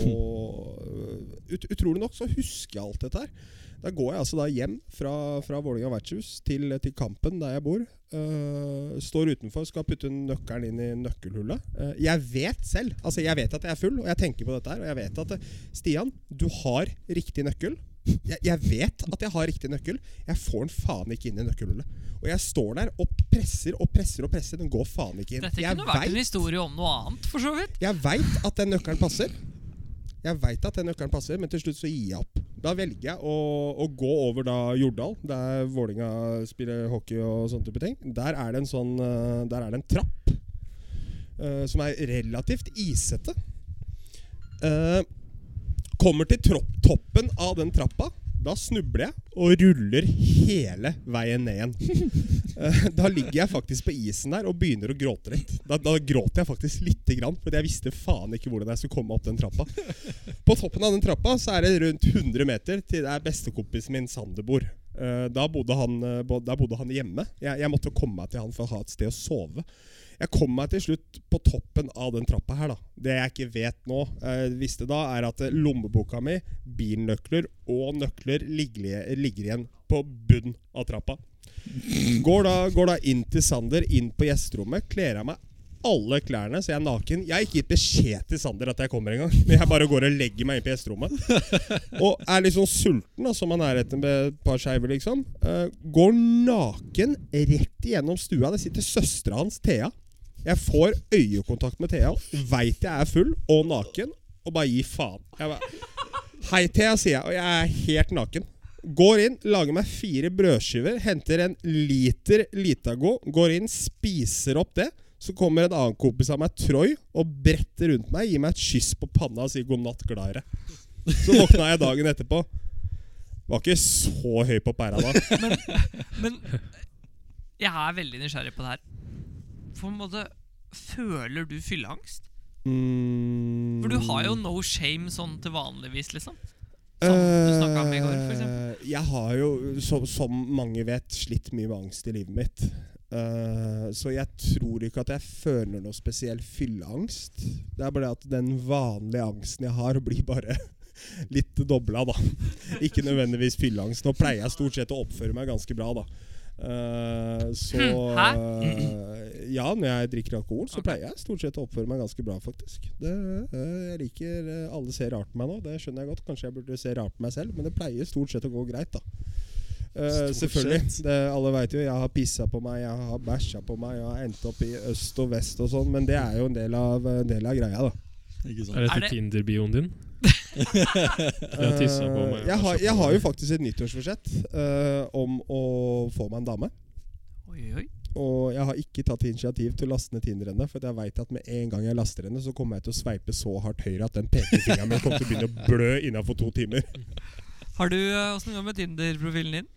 B: Og eh, ut, utrolig nok så husker jeg alt dette her. Da går jeg altså da hjem fra, fra Vålinga vertshus til, til Kampen, der jeg bor. Eh, står utenfor, skal putte nøkkelen inn i nøkkelhullet. Eh, jeg vet selv, altså jeg vet at jeg er full, og jeg tenker på dette her. Og jeg vet at eh, Stian, du har riktig nøkkel. Jeg, jeg vet at jeg har riktig nøkkel. Jeg får den faen ikke inn i nøkkelhullet. Og jeg står der og presser og presser og presser. Den går faen ikke inn.
A: Dette
B: Jeg
A: kunne vært en
B: vet-
A: historie om noe annet, for så vidt.
B: jeg veit at den nøkkelen passer. Jeg vet at den nøkkelen passer, men til slutt så gir jeg opp. Da velger jeg å, å gå over da Jordal, der Vålinga spiller hockey og sånne type ting. Der er det en sånn eh, Der er det en trapp eh, som er relativt isete. Eh, kommer til tropp, toppen av den trappa. Da snubler jeg og ruller hele veien ned igjen. Eh, Da ligger jeg faktisk på isen der og begynner å gråte litt. Da, da gråter jeg faktisk lite grann, for jeg visste faen ikke hvordan jeg skulle komme opp den trappa. På toppen av den trappa så er det rundt 100 meter til der bestekompisen min Sander bor. Eh, Da bodde han, eh, bo- da bodde han hjemme. Jeg, jeg måtte komme meg til han for å ha et sted å sove. Jeg kom meg til slutt på toppen av den trappa her, da. Det jeg ikke vet nå, eh, visste da, er at eh, lommeboka mi, bilnøkler og nøkler ligger, ligger igjen på bunnen av trappa. Går da, går da inn til Sander, inn på gjesterommet, kler av meg alle klærne, så jeg er naken. Jeg har ikke gitt beskjed til Sander at jeg kommer engang. Men jeg bare går og legger meg inn på gjesterommet. Og er liksom sulten, da, som han er etter med et par skeiver, liksom. Eh, går naken rett igjennom stua. Det sitter søstera hans, Thea. Jeg får øyekontakt med Thea, veit jeg er full og naken, og bare gir faen. Jeg bare, Hei, Thea, sier jeg, og jeg er helt naken. Går inn, lager meg fire brødskiver, henter en liter Litago, går inn, spiser opp det. Så kommer en annen kompis av meg, Troy, og bretter rundt meg, gir meg et kyss på panna og sier 'god natt, glad i deg'. Så våkna jeg dagen etterpå. Var ikke så høy på pæra da.
A: Men, men jeg er veldig nysgjerrig på det her. På en måte Føler du fylleangst?
B: Mm.
A: For du har jo no shame sånn til vanligvis, liksom. Som du snakket om i går, for eksempel.
B: Eh, Jeg har jo, som, som mange vet, slitt mye med angst i livet mitt. Eh, så jeg tror ikke at jeg føler noe spesiell fylleangst. Det er bare at den vanlige angsten jeg har, blir bare litt dobla, da. Ikke nødvendigvis fylleangst. Nå pleier jeg stort sett å oppføre meg ganske bra, da. Eh, så
A: Hm,
B: eh, Ja, når jeg drikker alkohol, så
A: Ok.
B: pleier jeg stort sett å oppføre meg ganske bra, faktisk. Det, eh, jeg liker eh, Alle ser rart på meg nå, det skjønner jeg godt. Kanskje jeg burde se rart på meg selv, men det pleier stort sett å gå greit, da. Eh,
C: Stort
B: selvfølgelig. Det, alle veit jo jeg har pissa på meg, jeg har bæsja på meg, jeg har endt opp i øst og vest og sånn, men det er jo en del av, en del av greia, da.
C: Ikke sant?
D: Er
A: Er
D: dette
A: det-
D: Tinder-bioen din? Jeg har
B: Eh,
D: tissa på meg.
B: jeg, har,
D: bæsja på
B: jeg har
D: meg.
B: jo faktisk et nyttårsforsett eh, om å få meg en dame.
A: Oi, oi.
B: Og jeg har ikke tatt initiativ til å laste ned Tinder ennå. For jeg veit at med en gang jeg laster henne, så kommer jeg til å sveipe så hardt høyre at den pekefingeren min kommer til å begynne å blø innafor to timer.
A: Har du eh, Åssen går det med Tinder-profilen din?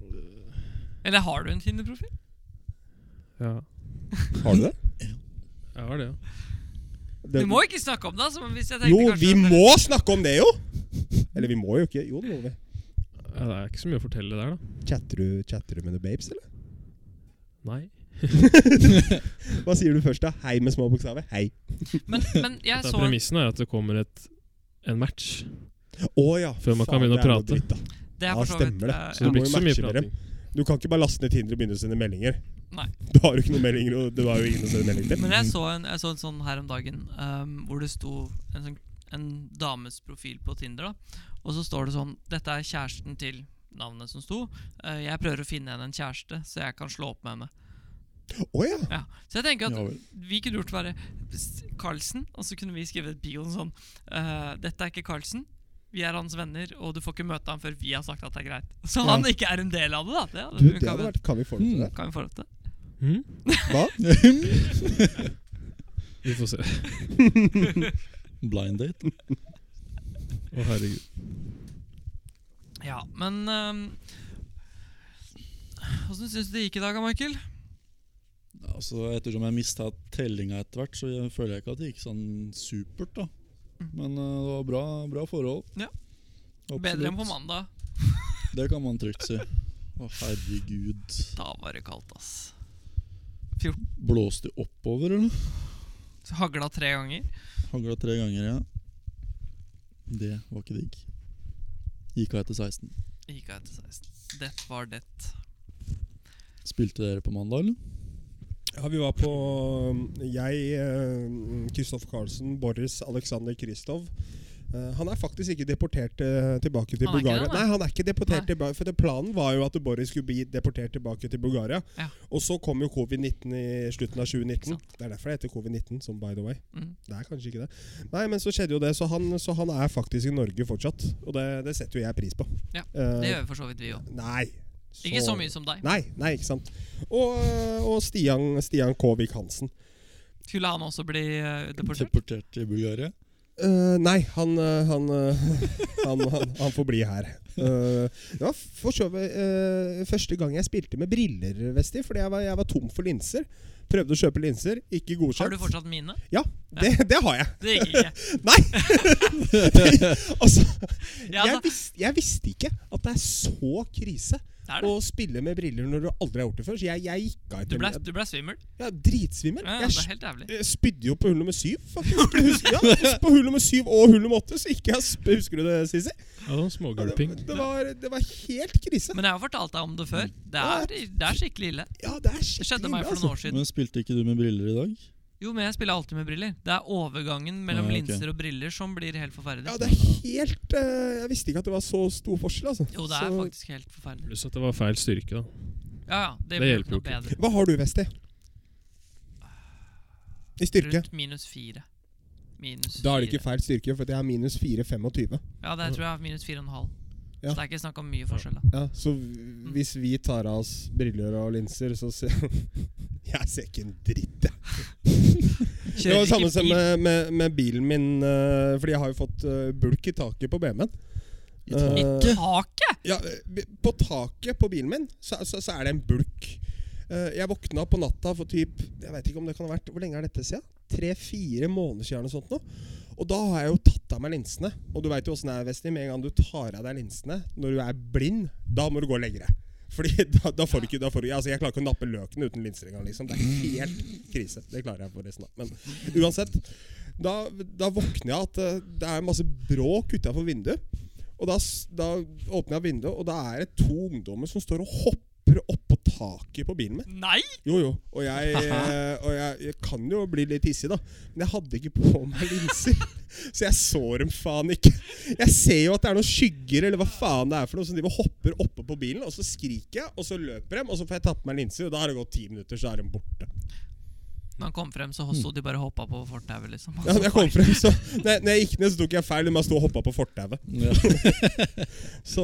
A: Øh. Eller har du en Tinder-profil?
D: Ja,
B: Har du det?
D: jeg har det, ja.
A: Du må ikke snakke om det, altså. men Hvis jeg tenkte
B: Jo,
A: kanskje
B: vi
A: at-
B: må snakke om det, jo! Eller vi må jo ikke. Jo, det må vi.
D: ja. Det er ikke så mye å fortelle der, da.
B: Chatter du, chatter du med noen babes, eller?
D: Nei.
B: Hva sier du først, da? Hei med små bokstaver. Hei.
A: Men, men jeg
D: Det er
A: så
D: premissen er at det kommer et, en match.
B: Å ja.
D: Før man kan
B: faen,
D: begynne å
B: det er noe
D: prate.
B: dritt, da.
A: Det er
B: Ja,
A: for så vidt
B: stemmer det.
A: eh,
D: Så
A: ja.
D: det blir
B: må
D: ikke
B: jo
D: så mye
B: matche dere.
D: prating.
B: Du kan ikke bare laste ned Tinder og begynne å sende meldinger.
A: Nei.
B: Du har jo ikke noen meldinger, og du har jo ingen å sende melding til.
A: Men jeg så en, jeg så en sånn her om dagen ehm, hvor det sto en, sånn, en dames profil på Tinder. da Og så står det sånn Dette er kjæresten til navnet som sto. Eh, jeg prøver å finne henne en kjæreste, så jeg kan slå opp med henne.
B: Å ja.
A: Ja. Så jeg tenker at
C: Ja vel.
A: vi kunne gjort bare s- Carlsen, og så kunne vi skrevet bioen sånn eh, Dette er ikke Carlsen. Vi er hans venner, og du får ikke møte ham før vi har sagt at det er greit. Så
B: Ja.
A: han ikke er en del av det, da. Det, hadde-
B: Du, det
A: kan, Mm.
B: hadde vært Kan vi få det til det?
A: vi, kan vi få lov til.
D: Hm?
B: Hva?
D: Vi får se. Å,
C: Blind date.
D: herregud.
A: Ja, men Åssen syns du det gikk i dag, Michael?
C: Altså, ettersom jeg mista tellinga etter hvert, så jeg føler jeg ikke at det gikk sånn supert. da Men eh, det var bra, bra forhold.
A: Mm. Ja.
C: Absolutt.
A: Bedre enn på mandag.
C: Det kan man trygt si. Å, herregud.
A: Da var det kaldt, ass.
C: Blåste de oppover, eller?
A: Så Hagla tre ganger.
C: Hagla tre ganger, ja. Det var ikke digg. Gikk av etter 16.
A: Gikk av etter 16. Det var det.
C: Spilte dere på mandag, eller?
B: Ja, vi var på øhm, Jeg, øhm, Kristoffer Carlsen, Boris Alexander Kristov Eh, Han er faktisk ikke deportert eh, tilbake til
A: Han er ikke
B: Bulgaria.
A: det, nei.
B: nei. han er ikke deportert
A: Nei.
B: tilbake For det planen var jo at Boris skulle bli deportert tilbake til Bulgaria.
A: Ja.
B: Og så kom jo covid-19 i slutten av
A: Ikke
B: 2019.
A: sant.
B: Det er derfor det heter covid-19, som by the way.
A: Mm.
B: Det er kanskje ikke det. Nei, men så skjedde jo det. Så han, så han er faktisk i Norge fortsatt. Og det, det setter jo jeg pris på.
A: Ja,
B: Eh,
A: Det gjør for så vidt vi òg.
B: Nei.
A: Ikke så mye som deg.
B: Nei, nei, ikke sant. Og, og Stian, Stian Kåvik Hansen.
A: Skulle han også bli eh, deportert?
C: Deportert til Bulgaria?
B: Eh, nei, han, eh, han, eh, han, han, han får bli her. Eh, det var for så vidt eh, første gang jeg spilte med briller, Vesti, fordi jeg var, jeg var tom for linser. Prøvde å kjøpe linser, ikke
A: Har du
B: godkjent.
A: fortsatt mine?
B: Det, det har jeg!
A: Det gikk ikke.
B: Altså,
A: Ja,
B: jeg,
A: altså,
B: visste, jeg visste ikke at det er så krise
A: det er
B: å
A: det.
B: spille med briller når du aldri har gjort det før. Så jeg, jeg gikk av
A: Du
B: etter
A: ble, du ble svimmel.
B: Jeg er dritsvimmel.
A: Ja, ja,
B: Jeg
A: det er helt jævlig.
B: Jeg Eh, spydde jo på hull nummer syv, faktisk. Jeg husker- Ja, jeg husker på hull nummer syv og hull nummer åtte, så ikke jeg sp- husker du det, Sisi?
D: Ja, det var smågulping.
B: Det, det, var, det var helt krise.
A: Men jeg har fortalt deg om det før. Det er, det er skikkelig ille.
B: Ja, Mm. det er
A: Det
B: skikkelig
A: skjedde meg
B: ille,
A: for
B: altså.
A: noen år siden.
C: Men spilte ikke du med briller i dag?
A: Jo, men jeg spiller alltid med briller. Det er overgangen mellom
B: Ah,
C: Ja, ok.
A: linser og briller som blir helt forferdelig.
B: Ja, det er helt eh, Jeg visste ikke at det var så stor forskjell, altså.
A: Jo, det er
B: så,
A: faktisk helt forferdelig.
D: Pluss at det var feil styrke, da.
A: Ja, ja, det,
D: Det
A: blir noe
D: hjelper jo ikke.
A: bedre.
B: Hva har du, Vesti? I styrke?
A: Rundt minus fire. Minus
B: Da er det
A: fire.
B: ikke feil styrke, for det er minus 4,25.
A: Ja, der tror jeg jeg har minus fire og en halv.
B: Ja.
A: Så det er ikke snakk om mye forskjell. da
B: Ja, så v- hvis vi tar av oss briller og linser, så ser Jeg ser ikke en dritt, jeg. Det
A: Kjører
B: var det samme
A: ikke
B: som
A: bil.
B: med, med, med bilen min, eh, fordi jeg har jo fått eh, bulk i taket på BMW-en.
C: I taket?
A: I taket!
B: Ja, eh, på taket på bilen min så, så, så er det en bulk. Eh, jeg våkna på natta for typ Jeg vet ikke om det kan ha vært Hvor lenge er dette siden? Tre-fire måneder siden. eller Sånt nå. Og da har jeg jo tatt av meg linsene. Og du veit jo åssen det er, Vesti. Med en gang du tar av deg linsene når du er blind, da må du gå og legge deg. Fordi da, da får du ikke da får du, altså Jeg klarer ikke å nappe løken uten linser engang. Liksom. Det er helt krise. Det klarer jeg forresten. da. Men uansett. Da, da våkner jeg at eh, det er masse bråk utafor vinduet. Og da, s- da åpner jeg vinduet, og da er det to ungdommer som står og hopper oppå taket på bilen min.
A: Nei!
B: Jo, jo. Og jeg, eh, og jeg, jeg kan jo bli litt hissig, da. Men jeg hadde ikke på meg linser. Så jeg så dem faen ikke. Jeg ser jo at det er noen skygger eller hva faen det er for noe som driver og hopper oppå på bilen. Og så skriker jeg, og så løper de, og så får jeg tatt på meg linser. Og da har det gått ti minutter, så er de borte.
A: Når han kom frem, så sto de bare og hoppa på fortauet, liksom.
B: Ja, når jeg kom frem, så Når jeg, når jeg gikk ned, så tok jeg feil. De bare sto og hoppa på fortauet.
C: Ja.
B: Så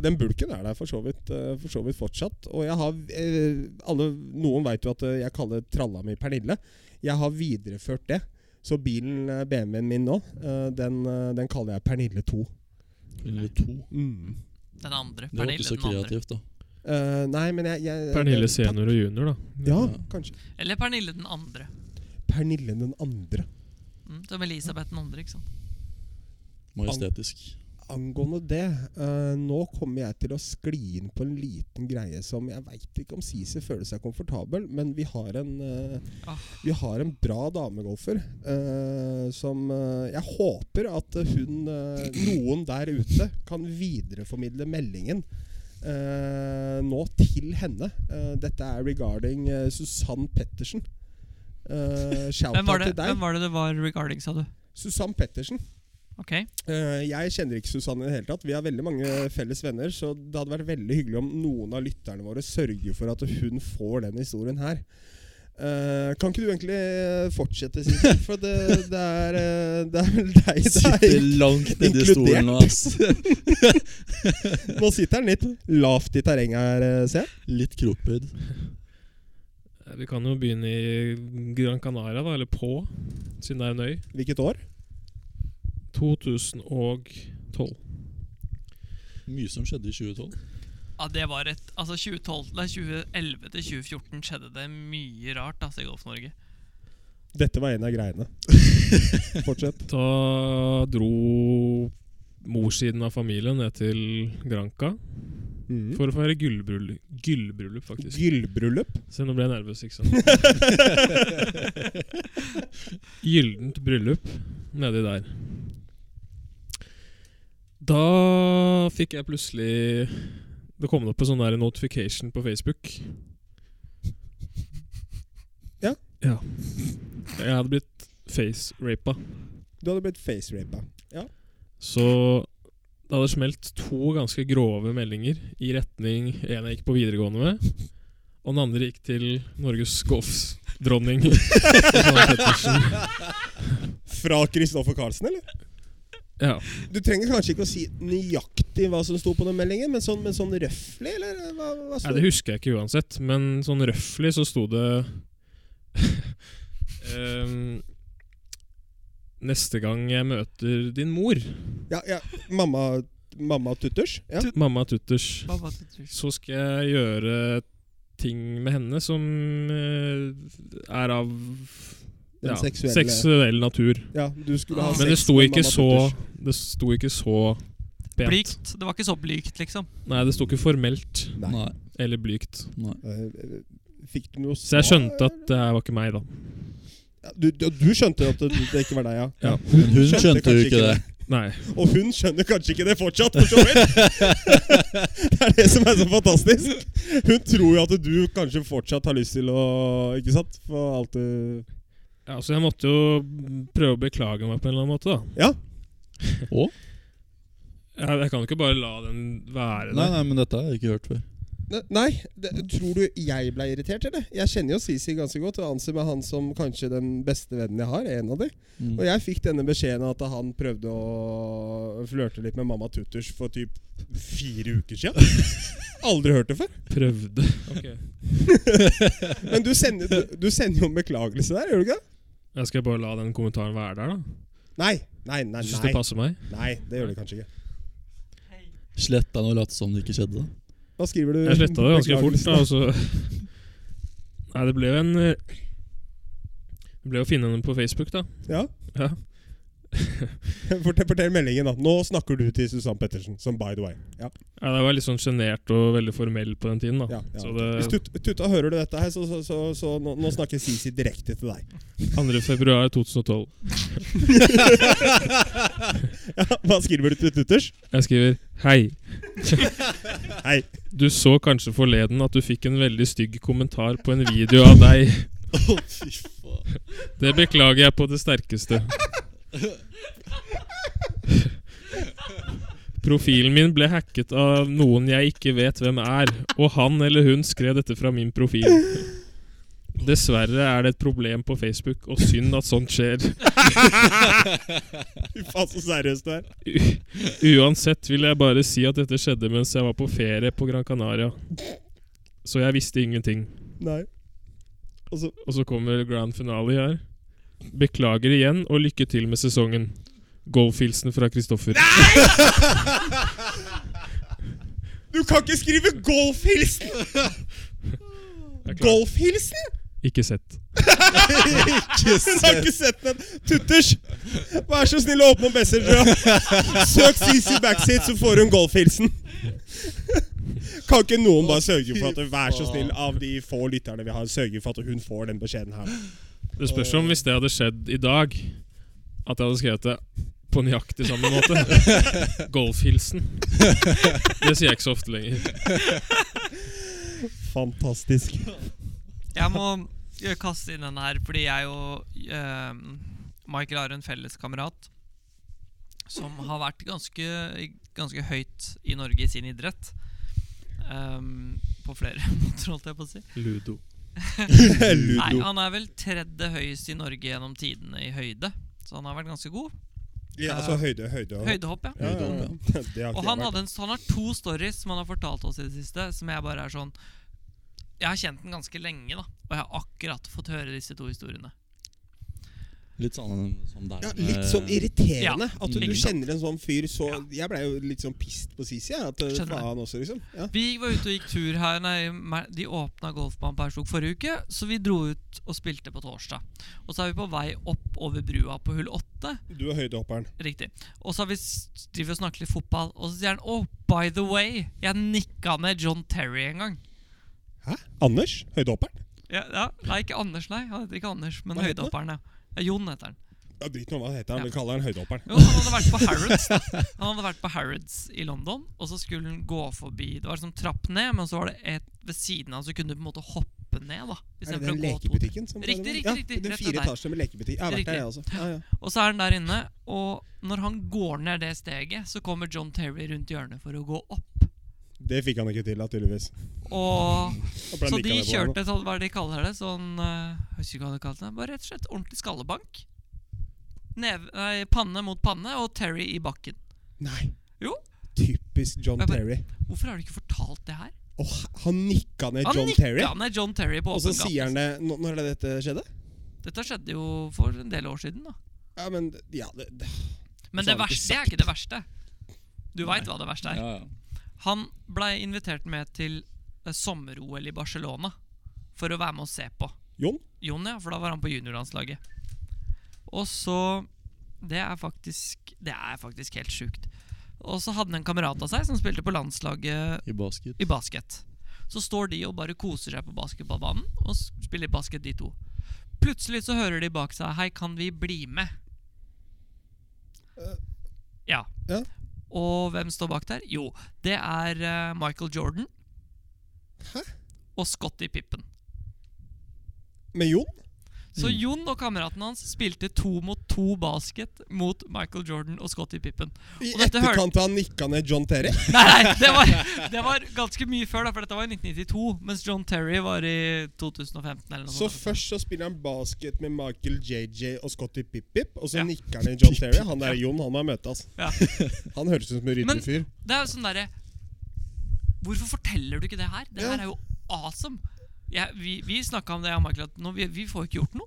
B: den bulken er der for så vidt, eh, for så vidt fortsatt. Og jeg har eh, alle, Noen veit jo at eh, jeg kaller tralla mi Pernille. Jeg har videreført det. Så bilen, eh, BMW-en min nå, eh, den, eh, den kaller jeg Pernille 2.
C: Eller to.
A: Den andre.
C: Det var
A: Pernille
C: ikke så
A: den andre.
C: kreativt, da.
B: Eh, nei, men jeg, jeg
D: Pernille
B: jeg-
D: senior og junior, da.
B: Ja,
C: Ja.
B: kanskje.
A: Eller Pernille den andre.
B: Pernille den andre.
A: Mm, som Elisabeth den andre, ikke sant.
C: Majestetisk.
B: Angående det, eh, nå kommer jeg til å skli inn på en liten greie som jeg veit ikke om Sisi føler seg komfortabel, men vi har en eh,
A: Ah.
B: Vi har en bra damegolfer eh, som eh, Jeg håper at hun eh, Noen der ute kan videreformidle meldingen eh, nå til henne. Eh, dette er regarding eh, Susann Pettersen. Eh, shout
A: Hvem var,
B: out
A: det,
B: til deg.
A: hvem var det det var regarding, sa du?
B: Susann Pettersen.
A: Ok.
B: Eh, jeg kjenner ikke Susanne i det hele tatt. Vi har veldig mange felles venner, så det hadde vært veldig hyggelig om noen av lytterne våre sørger for at hun får den historien her. Eh, kan ikke du egentlig eh, fortsette, Sissel? For det, det, er, eh, det er vel deg det
C: Sitter
B: er.
C: langt nedi
B: inkludert.
C: stolen nå, ass.
B: Nå sitter han litt lavt i terrenget her, eh, ser jeg.
C: Litt krokbøyd.
D: Eh, Vi kan jo begynne i Gran Canaria, da. Eller på, siden det er en øy.
B: Hvilket år?
D: 2012.
C: Mye som skjedde i 2012.
A: Ja, det var et Altså 2012, nei, 2011 til 2014 skjedde det mye rart altså, i Golf-Norge.
B: Dette var en av greiene. Fortsett.
D: Da dro morssiden av familien ned til Granca
B: Mm.
D: for å feire gullbryllup, gullbryllup faktisk.
B: Gullbryllup.
D: Se, nå ble jeg nervøs, ikke sant? Gyllent bryllup nedi der. Da fikk jeg plutselig Det kom opp en sånn der notification på Facebook.
B: Ja.
D: ja. Jeg hadde blitt face-rapa.
B: Du hadde blitt facerapa.
D: Så det hadde smelt to ganske grove meldinger i retning en jeg gikk på videregående med, og den andre gikk til Norges golfdronning. Susanne Pettersen.
B: Fra Kristoffer Carlsen, eller?
D: ja.
B: Du trenger kanskje ikke å si nøyaktig hva som sto på den meldingen, men sånn, men sånn røffelig, eller hva, hva
D: Nei,
B: sto
D: det husker jeg ikke uansett, men sånn røffelig så sto det ehm, Neste gang jeg møter din mor,
B: Ja, ja, mamma, mamma tutters? Ja.
D: mamma Tutters,
A: Hva var det du
D: så skal jeg gjøre ting med henne som eh, er av
B: Den
D: ja,
B: seksuelle-
D: seksuell natur.
B: ja, du skulle ha
A: Ah.
D: Men det
B: sex
D: sto
B: med
D: ikke
B: mamma
D: så
B: Tutters.
D: Det sto ikke så pent.
A: Blygt. Det var ikke så blygt, liksom.
D: Nei, det sto ikke formelt
B: Nei.
C: Nei.
D: eller blygt.
C: Nei.
B: Eh, Fikk du noe
D: Så jeg skjønte
B: svar?
D: at det her var ikke meg, da.
B: Ja, du, du, du skjønte at det, det ikke var deg, ja.
D: Ja.
C: Men hun
B: skjønte
C: skjønte jo
B: kanskje
C: ikke
B: ikke
C: det.
D: Nei.
B: Og hun skjønner kanskje ikke det fortsatt, for så vidt! det er det som er så fantastisk! Hun tror jo at du kanskje fortsatt har lyst til å Ikke sant? For alt du
D: Ja, så jeg måtte jo prøve å beklage meg på en eller annen måte, da.
B: Ja.
C: Å?
D: Jeg, jeg kan jo ikke bare la den være
C: Nei,
D: der.
C: nei, men dette har jeg ikke hørt før.
B: Ne- Nei, det, tror du jeg ble irritert, eller? Jeg kjenner jo Sisi ganske godt og anser meg han som kanskje den beste vennen jeg har. En av de.
C: Mm.
B: Og jeg fikk denne beskjeden at han prøvde å flørte litt med mamma Tutters for typ fire uker siden. Aldri hørt det før.
D: Prøvde. Ok.
B: Men du sender, du, du sender jo en beklagelse der, gjør du ikke det?
D: Jeg skal bare la den kommentaren være der, da.
B: Nei, nei, nei.
D: Jeg syns det
B: Nei,
D: passer meg.
B: nei det gjør du kanskje ikke.
C: Slett deg nå og late som det ikke skjedde.
B: Hva skriver du?
D: Jeg sletta det ganske fort.
B: Beklagelsen
D: da, og så... Nei, det ble jo en eh, Det ble å finne henne på Facebook, da.
B: Ja.
D: Ja.
B: Fortell, fortell meldingen, da. Nå snakker du til Susann Pettersen, som by the way. Ja,
D: Ja, det var litt sånn sjenert og veldig formell på den tiden.
B: ja,
D: da
B: ja.
D: Så
B: Hvis
D: det
B: tut, Tutta hører du dette her, så, så, så, så nå, nå snakker Sisi direkte til deg.
D: 2. februar 2012.
B: Ja, hva skriver du til Tutters?
D: Jeg skriver Hei.
B: Hei.
D: Du så kanskje forleden at du fikk en veldig stygg kommentar på en video av deg.
C: Å, fy faen.
D: Det beklager jeg på det sterkeste. Profilen min ble hacket av noen jeg ikke vet hvem er, og han eller hun skrev dette fra min profil. Dessverre er det et problem på Facebook, og synd at sånt skjer.
B: Fy faen, så seriøst du er.
D: U uansett vil jeg bare si at dette skjedde mens jeg var på ferie på Gran Canaria. Så jeg visste ingenting.
B: Nei.
D: Og så kommer grand finale her. Beklager igjen, og lykke til med sesongen. Golfhilsen fra Kristoffer.
B: Du kan ikke skrive golfhilsen!
D: Jeg er klar.
B: Golfhilsen?!
D: Ikke sett.
C: Ikke
B: Hun har ikke sett den! Tutters, vær så snill å åpne opp Messenger. ja. Søk CC Backseat, så får hun golfhilsen. Kan ikke noen bare sørge for at vær så snill av de få lytterne vi har, sørge for at hun får den beskjeden her?
D: Det spørs om hvis det hadde skjedd i dag, at jeg hadde skrevet det på nøyaktig samme måte. Golfhilsen. Det sier jeg ikke så ofte lenger.
B: Fantastisk.
A: Jeg må eh, kaste inn den her, fordi jeg og eh, Michael har en felleskamerat som har vært ganske, ganske høyt i Norge i sin idrett. Ehm, på flere måter, holdt jeg på å si.
D: Ludo.
A: Nei,
B: Ludo.
A: han er vel tredje høyest i Norge gjennom tidene i høyde. Så han har vært ganske god.
B: Ja, altså høyde, høyde. og-
A: Høydehopp, ja.
B: Ja, ja, ja. Det har
A: Eh,
B: ikke
A: Mm. Og
B: jeg
A: han,
B: vært.
A: hadde en, han har to stories som han har fortalt oss i det siste, som jeg bare er sånn Jeg har kjent den ganske lenge, da. Og jeg har akkurat fått høre disse to historiene.
C: Litt sånn som deg. Eh,
B: Ja, litt sånn irriterende.
A: Ja,
B: At du
A: ikke sant.
B: kjenner en sånn fyr så
A: Ja.
B: Jeg blei jo litt sånn pissed på Sisi. jeg, At eh,
A: Skjønner det.
B: faen også, liksom. Ja.
A: Vi var ute og gikk tur her nei, mer- De åpna golfbanen på Ersvåg forrige uke, så vi dro ut og spilte på torsdag. Og så er vi på vei opp over brua på hull åtte.
B: Du er høydehopperen.
A: Riktig. Og så har vi s- driver og snakker litt fotball, og så sier han Oh, by the way, jeg nikka ned John Terry en gang.
B: Hæ? Anders? Høydehopperen?
A: Ja, ja. Nei, ikke Anders, nei. Han heter ikke Anders, men
B: Hva heter han?
A: høydehopperen. Ja. Ja, Jon heter han.
B: Ja, Drit nå hva han heter, han.
A: Ja.
B: vi kaller han høydehopperen.
A: Jo, han hadde vært på Harrods da. Han hadde vært på Harrods i London, og så skulle han gå forbi Det var liksom trapp ned, men så var det et ved siden av, så kunne du på en måte hoppe ned. da i
B: Er
A: stedet
B: det
A: for
B: den
A: å gå to-
B: lekebutikken? Som
A: Riktig,
B: var-
A: riktig, riktig,
B: Ja, den
A: rett ved
B: fire
A: deg.
B: etasjer med lekebutikk. Jeg har vært
A: Riktig.
B: der, jeg også. Ja, ja.
A: Og så er han der inne, og når han går ned det steget, så kommer John Terry rundt hjørnet for å gå opp.
B: Det fikk han ikke til, da, tydeligvis.
A: Og
B: Da ble han
A: Så
B: nikket
A: de
B: ned på her nå.
A: kjørte sånn, hva er det de kaller det? Sånn, eh, jeg husker ikke hva de kalte det Bare rett og slett ordentlig skallebank. Neve, nei, panne mot panne, og Terry i bakken.
B: Nei.
A: Jo.
B: Typisk John
A: Jeg bare-
B: Terry.
A: Hvorfor har du ikke fortalt det her?
B: Åh, han nikka ned
A: Han
B: John
A: nikka
B: Terry.
A: ned John Terry på
B: Og så
A: åpen gate.
B: sier han det Nå- Når er det dette skjedde?
A: Dette skjedde jo for en del år siden, da.
B: Ja, men Ja, det, det.
A: Men
B: Så
A: det
B: har du ikke
A: verste det er ikke det verste. Du veit hva det verste er.
C: Ja, ja.
A: Han blei invitert med til eh, sommer-OL i Barcelona for å være med og se på.
B: Jon?
A: Jon, ja, for da var han på juniorlandslaget. Og så Det er faktisk Det er faktisk helt sjukt. Og så hadde han en kamerat av seg som spilte på landslaget
C: I basket.
A: i basket. Så står de og bare koser seg på basketballbanen og s- spiller basket, de to. Plutselig så hører de bak seg 'Hei, kan vi bli med?'
B: Eh,
A: Ja.
B: ja.
A: Og hvem står bak der? Jo, det er eh, Michael Jordan. Og Scotty Pippen.
B: Med Jon?
A: Så
C: Mm.
A: Jon og kameraten hans spilte to mot to basket mot Michael Jordan og Scottie Pippen.
B: I
A: Og dette hørte-
B: etterkant av han nikka ned John Terry.
A: Nei, nei det, var, det var ganske mye før, da, for dette var i 1992, mens John Terry var i 2015. eller noe
B: Så
A: sånt.
B: først så spiller han basket med Michael JJ og Scotty Pip-Pip, og så
A: Ja.
B: nikker han i John Terry. Han der Jon, han må jeg møte, altså.
A: Ja.
B: Han høres ut som
A: Men-
B: en ryddig fyr.
A: Det er jo sånn derre Hvorfor forteller du ikke det her? Det
B: Ja.
A: her er jo awesome. Jeg, vi vi snakka om det, jeg og Michael, at nå, vi, vi får ikke gjort noe.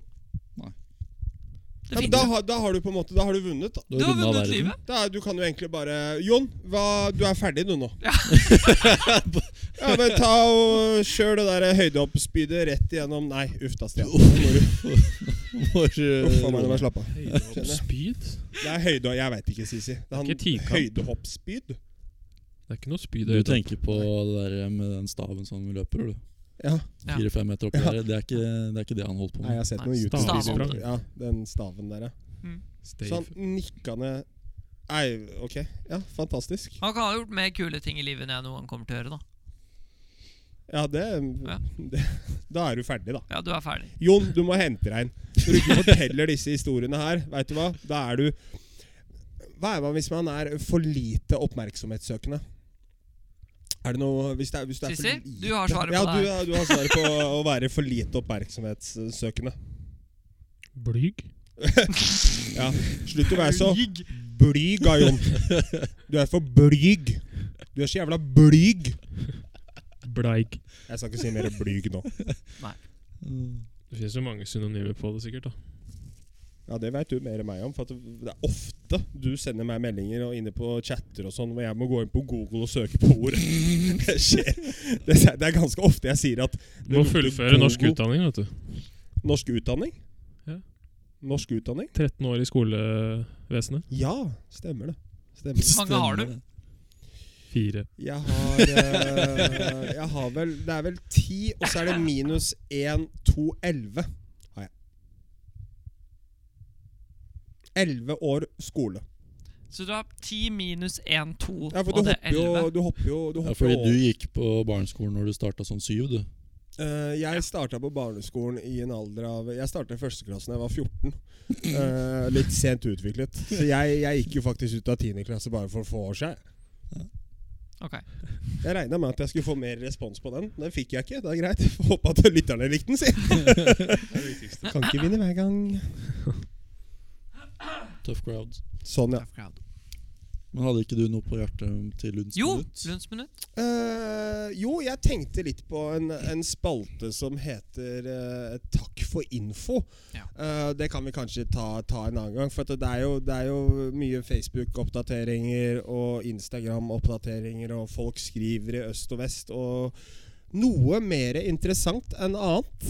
C: Nei.
A: Det
B: Ja, men
A: finnes
B: da,
A: jo.
B: har- da har du på en måte Da har du vunnet, da.
A: Du har
C: rundet
A: vunnet
C: verden.
A: livet.
B: da er, du kan jo egentlig bare Jon, hva, du er ferdig du nå.
A: Ja.
B: ja, men ta og kjør det der høydehoppspydet rett igjennom Nei, uff da, Stian. Nå må du-
C: For, eh,
B: Uff a meg, nå må jeg slappe av.
D: Høydehoppspyd?
B: Det er høyde... Jeg veit ikke, Sisi. Det er han
D: Det er ikke tidkamp.
B: høydehoppspyd.
D: Det er ikke noe spyd i
C: du
D: høydehopp.
C: tenker på det der eh, med den staven som løper, du.
B: Ja.
A: Ja.
C: Fire-fem meter opp i været. Det, er ikke- det er ikke det han holdt på
B: Nei, jeg
C: med.
B: har sett
A: Nei,
B: noen
D: stav-
B: YouTube-videoer.
D: stav.
B: Ja, den staven der, ja.
D: Stave.
B: Så han nikka ned Nei, ok. Ja, fantastisk.
A: Han kan ha gjort mer kule ting i livet enn jeg noen gang kommer til å gjøre. Da
B: Ja, det,
A: Ja.
B: det Da er du ferdig, da.
A: Ja, du er ferdig.
B: Jon, du må hente deg inn. Når du ikke forteller disse historiene her, veit du hva? Da er du Hva er man hvis man er for lite oppmerksomhetssøkende? Er det noe Hvis det er, hvis det er for
A: Sissy,
B: lite
A: du har svaret på
B: ja,
A: det
B: du,
A: her.
B: ja, du har svaret på å være for lite oppmerksomhetssøkende.
D: Blyg?
B: Ja. Slutt å være så blyg, da, Jon. Du er for blyg. Du er så jævla blyg.
D: Bleig.
B: Jeg skal ikke si mer blyg nå.
C: Mm.
D: Det finnes jo mange synonymer på det, sikkert. da
B: Ja, Det veit du mer enn meg om. For at det er ofte du sender meg meldinger og inne på chatter og sånn, hvor jeg må gå inn på Google og søke på ord. Det skjer. Det er det er ganske ofte jeg sier at
D: Du må fullføre norsk utdanning. vet du
B: Norsk utdanning?
D: Ja.
B: Norsk utdanning?
D: 13 år i skolevesenet.
B: Ja, stemmer det. Stemmer.
A: Hvor mange har du?
C: Stemmer det.
D: Fire.
B: Jeg har eh, Jeg har vel Det er vel ti, og så er det minus én, to, elleve. Har jeg. Elleve år skole.
A: Så du har 10 minus 1, 2,
B: Ja, for
A: og
B: du
A: det er
B: hopper jo
A: 11.
B: Du hopper jo, du
C: Ja,
B: hopper
C: fordi
B: jo
C: du gikk på barneskolen når du starta sånn syv, du.
B: Eh, jeg starta på barneskolen i en alder av Jeg starta i førsteklassen da jeg var 14. Eh, litt sent utviklet. Så jeg, jeg gikk jo faktisk ut av 10. klasse bare for få år siden.
A: Ok.
B: Jeg regna med at jeg skulle få mer respons på den. Den fikk jeg ikke. Det er greit. Får Håpe at lytterne likte den, si. kan ikke vinne hver gang.
C: Tough crowd.
B: Sånn, ja.
A: Tough crowd.
C: Men hadde ikke du noe på hjertet til Lunds
A: Jo,
C: Minutt?
A: Lunds minutt.
B: Eh, jo, jeg tenkte litt på en, en spalte som heter eh, Takk for info.
A: Ja.
B: Eh, det kan vi kanskje ta, ta en annen gang. For at det, er jo, det er jo mye Facebook-oppdateringer og Instagram-oppdateringer, og folk skriver i øst og vest. Og noe mer interessant enn annet.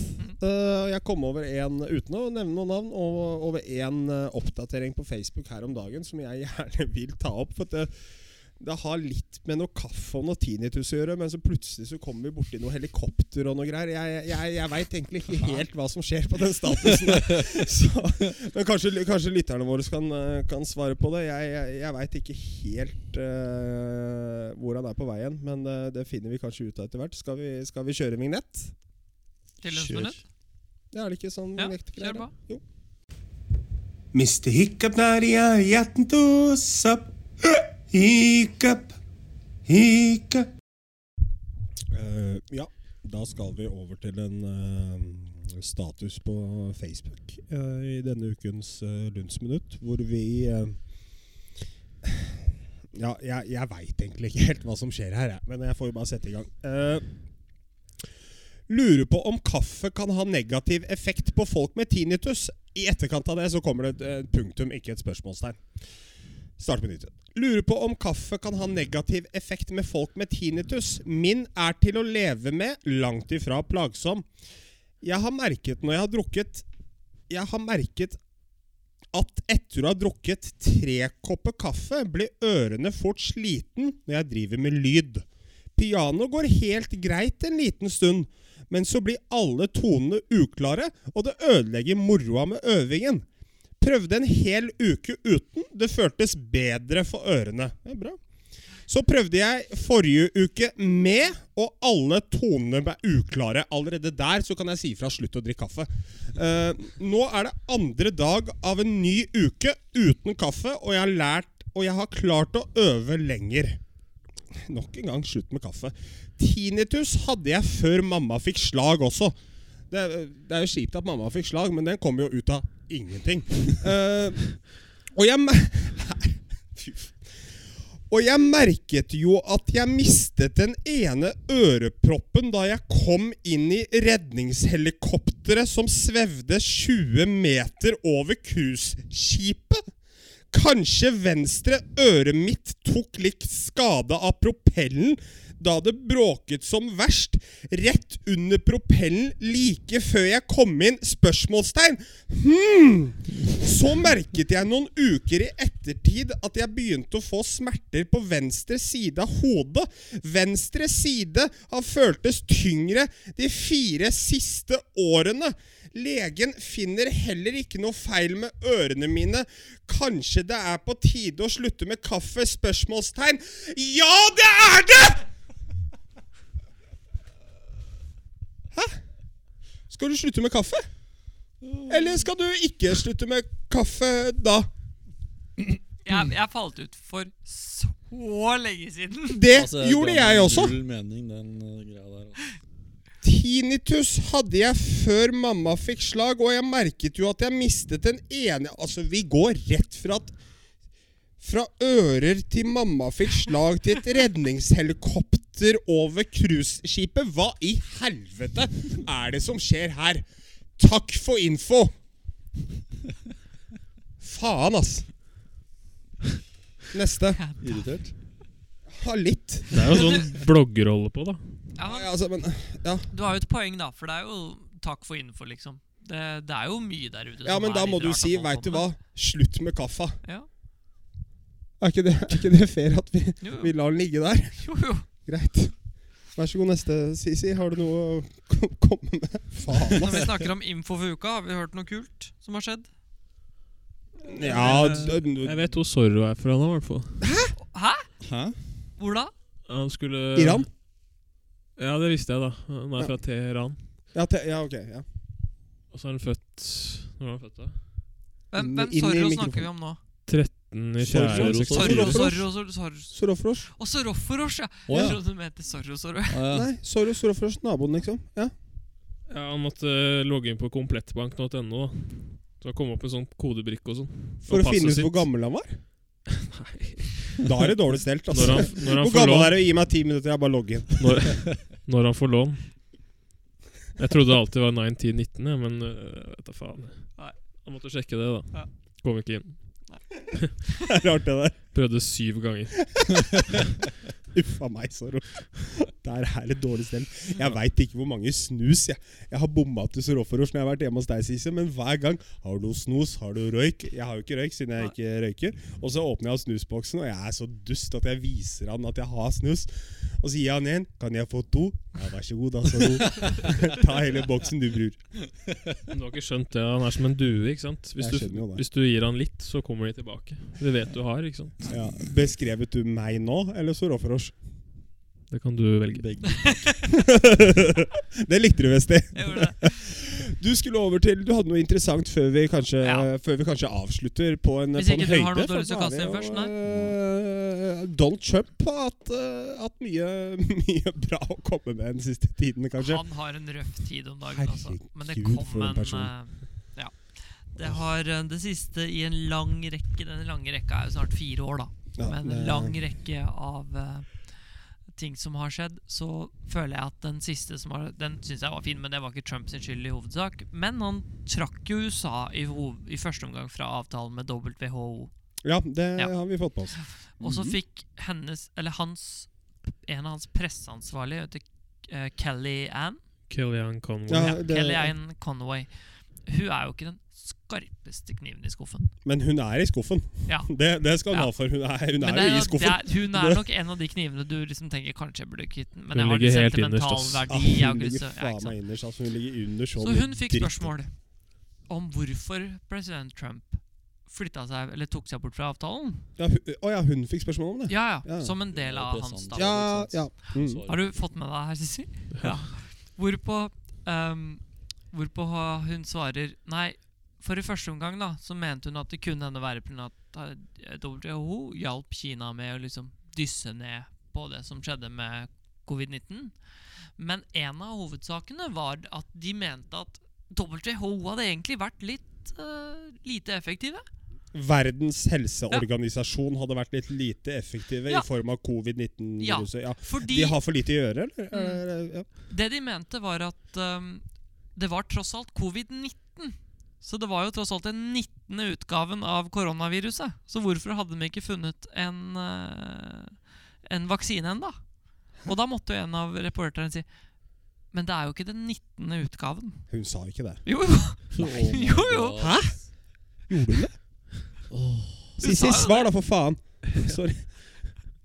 B: Eh, jeg kom over en, uten å nevne noen navn, og, over en eh, oppdatering på Facebook her om dagen som jeg gjerne vil ta opp. For at det, det har litt med noe kaffe og noe tinnitus å gjøre, men så plutselig så kommer vi borti noe helikopter og noe greier. Jeg, jeg, jeg veit egentlig ikke helt hva som skjer på den statusen. der. Så, men kanskje, kanskje lytterne våre kan, eh, kan svare på det. Jeg, jeg, jeg veit ikke helt eh, hvor han er på veien, men eh, det finner vi kanskje ut av etter hvert. Skal vi, skal vi kjøre vignett?
A: Til Lunds
C: Kjør.
A: minutt.
B: Det er det ikke sånn
A: Ja,
B: vignettgreier,
A: kjør
B: da?
A: på.
B: Jo.
E: Mr. Hiccup Nadia, hjerten tosser. Hiccup, hiccup.
B: Eh, ja, da skal vi over til en eh, status på Facebook eh, i denne ukens uh, Lundsminutt, hvor vi eh, Ja, jeg, jeg veit egentlig ikke helt hva som skjer her, jeg, men jeg får jo bare sette i gang. Eh, lurer på om kaffe kan ha negativ effekt på folk med tinnitus. I etterkant av det så kommer det et, et punktum, ikke et spørsmålstegn. Start på nytt. Lurer på om kaffe kan ha negativ effekt med folk med tinnitus. Min er til å leve med, langt ifra plagsom. Jeg har merket når jeg har drukket Jeg har merket at etter å ha drukket tre kopper kaffe, blir ørene fort sliten når jeg driver med lyd. Piano går helt greit en liten stund, men så blir alle tonene uklare, og det ødelegger moroa med øvingen. Prøvde en hel uke uten. Det føltes bedre for ørene. Det er bra. Så prøvde jeg forrige uke med, Og alle tonene er uklare. Allerede der så kan jeg si fra slutt å drikke kaffe. Eh, nå er det andre dag av en ny uke uten kaffe, og jeg har lært Og jeg har klart å øve lenger. Nok en gang slutt med kaffe. Tinnitus hadde jeg før mamma fikk slag også. Det, er- det er jo kjipt at mamma fikk slag, men den kom jo ut av ingenting. Eh, og jeg mer- Fy faen. Og jeg merket jo at jeg mistet den ene øreproppen da jeg kom inn i redningshelikopteret som svevde 20 meter over cruiseskipet. Kanskje venstre øret mitt tok litt skade av propellen da det bråket som verst rett under propellen like før jeg kom inn? Spørsmålstegn. Hmm. Så merket jeg noen uker i ettertid at jeg begynte å få smerter på venstre side av hodet. Venstre side har føltes tyngre de fire siste årene. Legen finner heller ikke noe feil med ørene mine. Kanskje det er på tide å slutte med kaffe? Spørsmålstegn. Ja, det er det! Hæ? Skal du slutte med kaffe? Eller skal du ikke slutte med kaffe da?
A: Jeg, jeg falt ut for så lenge siden.
B: Det
C: Altså, det
B: gjorde
C: ga meg
B: jeg også.
C: Null mening, den eh, greia der. altså.
B: Tinnitus hadde jeg før mamma fikk slag, og jeg merket jo at jeg mistet den ene Altså, vi går rett fra at Fra ører til mamma fikk slag til et redningshelikopter over cruiseskipet. Hva i helvete er det som skjer her? Takk for info! Faen, ass. Neste.
C: Irritert.
B: Ha litt.
D: Det er jo sånn blogger holder på, da.
A: Ja, men
B: Ja, altså, men Ja.
A: Du har jo et poeng, da, for det er jo takk for info, liksom. Det, det er jo mye der ute.
B: Ja,
A: som
B: men
A: sånn, er
B: da
A: litt
B: må du
A: rart at
B: si,
A: folk
B: veit du
A: kommer
B: hva, slutt med kaffa.
A: med. Ja.
B: Er ikke det, er ikke det fair at vi,
A: Jo, jo.
B: vi lar den ligge der?
A: jo, jo.
B: Greit. Vær så god, neste, Sisi. Har du noe å kom- komme med? Faen,
A: Når vi
B: ass.
A: snakker om info for uka, har vi hørt noe kult som har skjedd?
B: Ja, d-
D: Jeg
B: d-
D: vet hvor Zorro er fra nå, i hvert fall.
A: Hæ?
C: Hæ?
A: Hvor da?
D: Han skulle
B: Iran?
D: Ja, det visste jeg, da. Han er fra Teheran.
B: Ja, te, ja ok. Ja.
D: Og så er han født Når var han født, da?
A: Hvem,
B: Mm, Inn i-
A: hvem
B: inn i
A: Zorro
B: mikrofonen.
A: snakker vi om nå?
D: Den i fjerde
C: Zorro,
D: sektor.
A: Zorro,
B: Zorro.
A: Zorro, Zorro, Zorro.
B: Sorofrosh?
A: Og Zorroforos, ja!
C: Å,
A: Jeg
C: ja.
A: trodde du mente Zorro, Zorro.
C: Ah, ja.
B: Nei, sorry, Sorofrosh. Naboen, liksom. Ja.
D: Ja, han måtte eh, logge inn på komplettbank.no. da. Så han kom opp med sånn kodebrikke og sånn.
B: For
D: Og
B: å finne ut
D: passet
B: hvor
D: sitt.
B: gammel han var? Da er det dårlig stelt,
D: Når
B: altså.
D: han, når han
B: Hvor
D: får
B: gammel
D: lån.
B: er du? Gi meg ti minutter, jeg bare logger inn.
D: Når, når han får lån. Jeg trodde det alltid var 9-10-19, jeg, men øh, vet da faen.
A: Nei.
D: Han måtte sjekke det, da.
A: Ja.
D: Kom ikke inn.
B: Det er rart, det der.
D: Prøvde syv ganger.
B: Uff a meg, Zorro. Der er det dårlig stell. Jeg veit ikke hvor mange snus jeg Jeg har bomma til Soroforos når jeg har vært hjemme hos deg, Sise, men hver gang Har du snus? Har du røyk? Jeg har jo ikke røyk siden jeg ikke røyker. Og så åpner jeg snusboksen, og jeg er så dust at jeg viser han at jeg har snus. Og så gir jeg han en. Kan jeg få to? Ja, vær så god, da, Zorro. Ta hele boksen du, bror.
D: Men du har ikke skjønt det. Han er som en due, ikke sant? Hvis
B: Jeg
D: du,
B: skjønner jo det.
D: hvis du gir han litt, så kommer de tilbake. Det vet du har, ikke sant?
B: Ja. Beskrevet du meg nå, eller Soroforos?
D: Det kan du velge.
C: Begge.
B: det likte du, Vesti.
A: Jeg gjorde det.
B: Du skulle over til Du hadde noe interessant før vi kanskje,
A: Ja.
B: før vi kanskje avslutter på en,
A: Hvis
B: på en
A: ikke
B: høyde.
A: du har noe
B: for
A: dårlig, så
B: da er
A: kast
B: vi
A: inn
B: jo,
A: først, nei.
B: eh, Donald Trump har hatt, eh, hatt mye, mye bra å komme med den siste tiden, kanskje.
A: Han har en røff tid om dagen, altså. Men det
B: Herregud, for
A: kom
B: en
A: en
B: person.
A: eh, Ja. Det har eh, det siste i en lang rekke Den lange rekka er jo snart fire år, da.
B: Ja,
A: med
B: det-
A: en lang rekke av eh, ting som har skjedd, så føler jeg at den siste som har Den syns jeg var fin, men det var ikke Trumps skyld i hovedsak. Men han trakk jo USA i, hov- i første omgang fra avtalen med WHO.
B: ja, det
A: Ja.
B: har vi fått med oss.
A: Og
B: Mhm.
A: så fikk hennes, eller hans, en av hans presseansvarlige, heter eh, Kelly Ann.
D: Kellyanne Conway.
B: Ja,
A: Ja,
B: det-
A: Kelly Ann Conway. Hun er jo ikke den skarpeste kniven i skuffen.
B: Men hun er i skuffen.
A: Ja.
B: Det, det skal hun
A: Ja.
B: ha for. Hun er, hun
A: Men
B: er
A: det er
B: jo i
A: jo-
B: skuffen.
A: Det er, hun er nok en av de knivene du liksom tenker kanskje jeg burde kvitte den. Men
D: Hun
A: jeg har en
D: ligger helt
A: sentimental
D: innerst, ass.
B: Ah,
A: verdi. Jeg har
B: hun
A: ikke lyst
B: ligger
A: til, ja,
B: faen
A: ikke sant?
B: meg innerst. Altså, hun ligger under
A: Så
B: så mye
A: hun fikk
B: dritt.
A: spørsmål om hvorfor president Trump flytta seg, eller tok seg bort fra avtalen.
B: Ja, hun, å ja, hun fikk spørsmål om det?
A: Ja, ja.
B: Ja.
A: Som en del
C: Ja,
A: av
C: det er
A: hans
C: sant.
A: da.
B: Ja, ja. Mm.
C: Svaret.
A: Har du fått med deg her, Sissy? Ja. Hvorpå, ehm, hvorpå ha- hun svarer Nei, for i første omgang da så mente hun at det kunne hende være pga. at eh, WHO hjalp Kina med å liksom dysse ned på det som skjedde med covid-19. Men en av hovedsakene var at de mente at WHO hadde egentlig vært litt eh, lite effektive.
B: Verdens helseorganisasjon hadde vært litt lite effektive
A: Ja.
B: i form av covid-19-viruset. Ja.
A: Fordi
B: De har for lite å gjøre, eller?
A: Mm.
B: Er det- Ja.
A: Det de mente var at um, det var tross alt covid-19. Så det var jo tross alt den 19. utgaven av koronaviruset. Så hvorfor hadde de ikke funnet en, eh, en vaksine ennå? Og da måtte jo en av reporterne si Men det er jo ikke den 19. utgaven.
B: Hun sa ikke det.
A: Jo, jo!
C: Oh my
A: Jo, jo.
C: God.
B: Hæ? Gjorde hun det? Sissy,
A: sa jo
B: svar da, for faen! Sorry.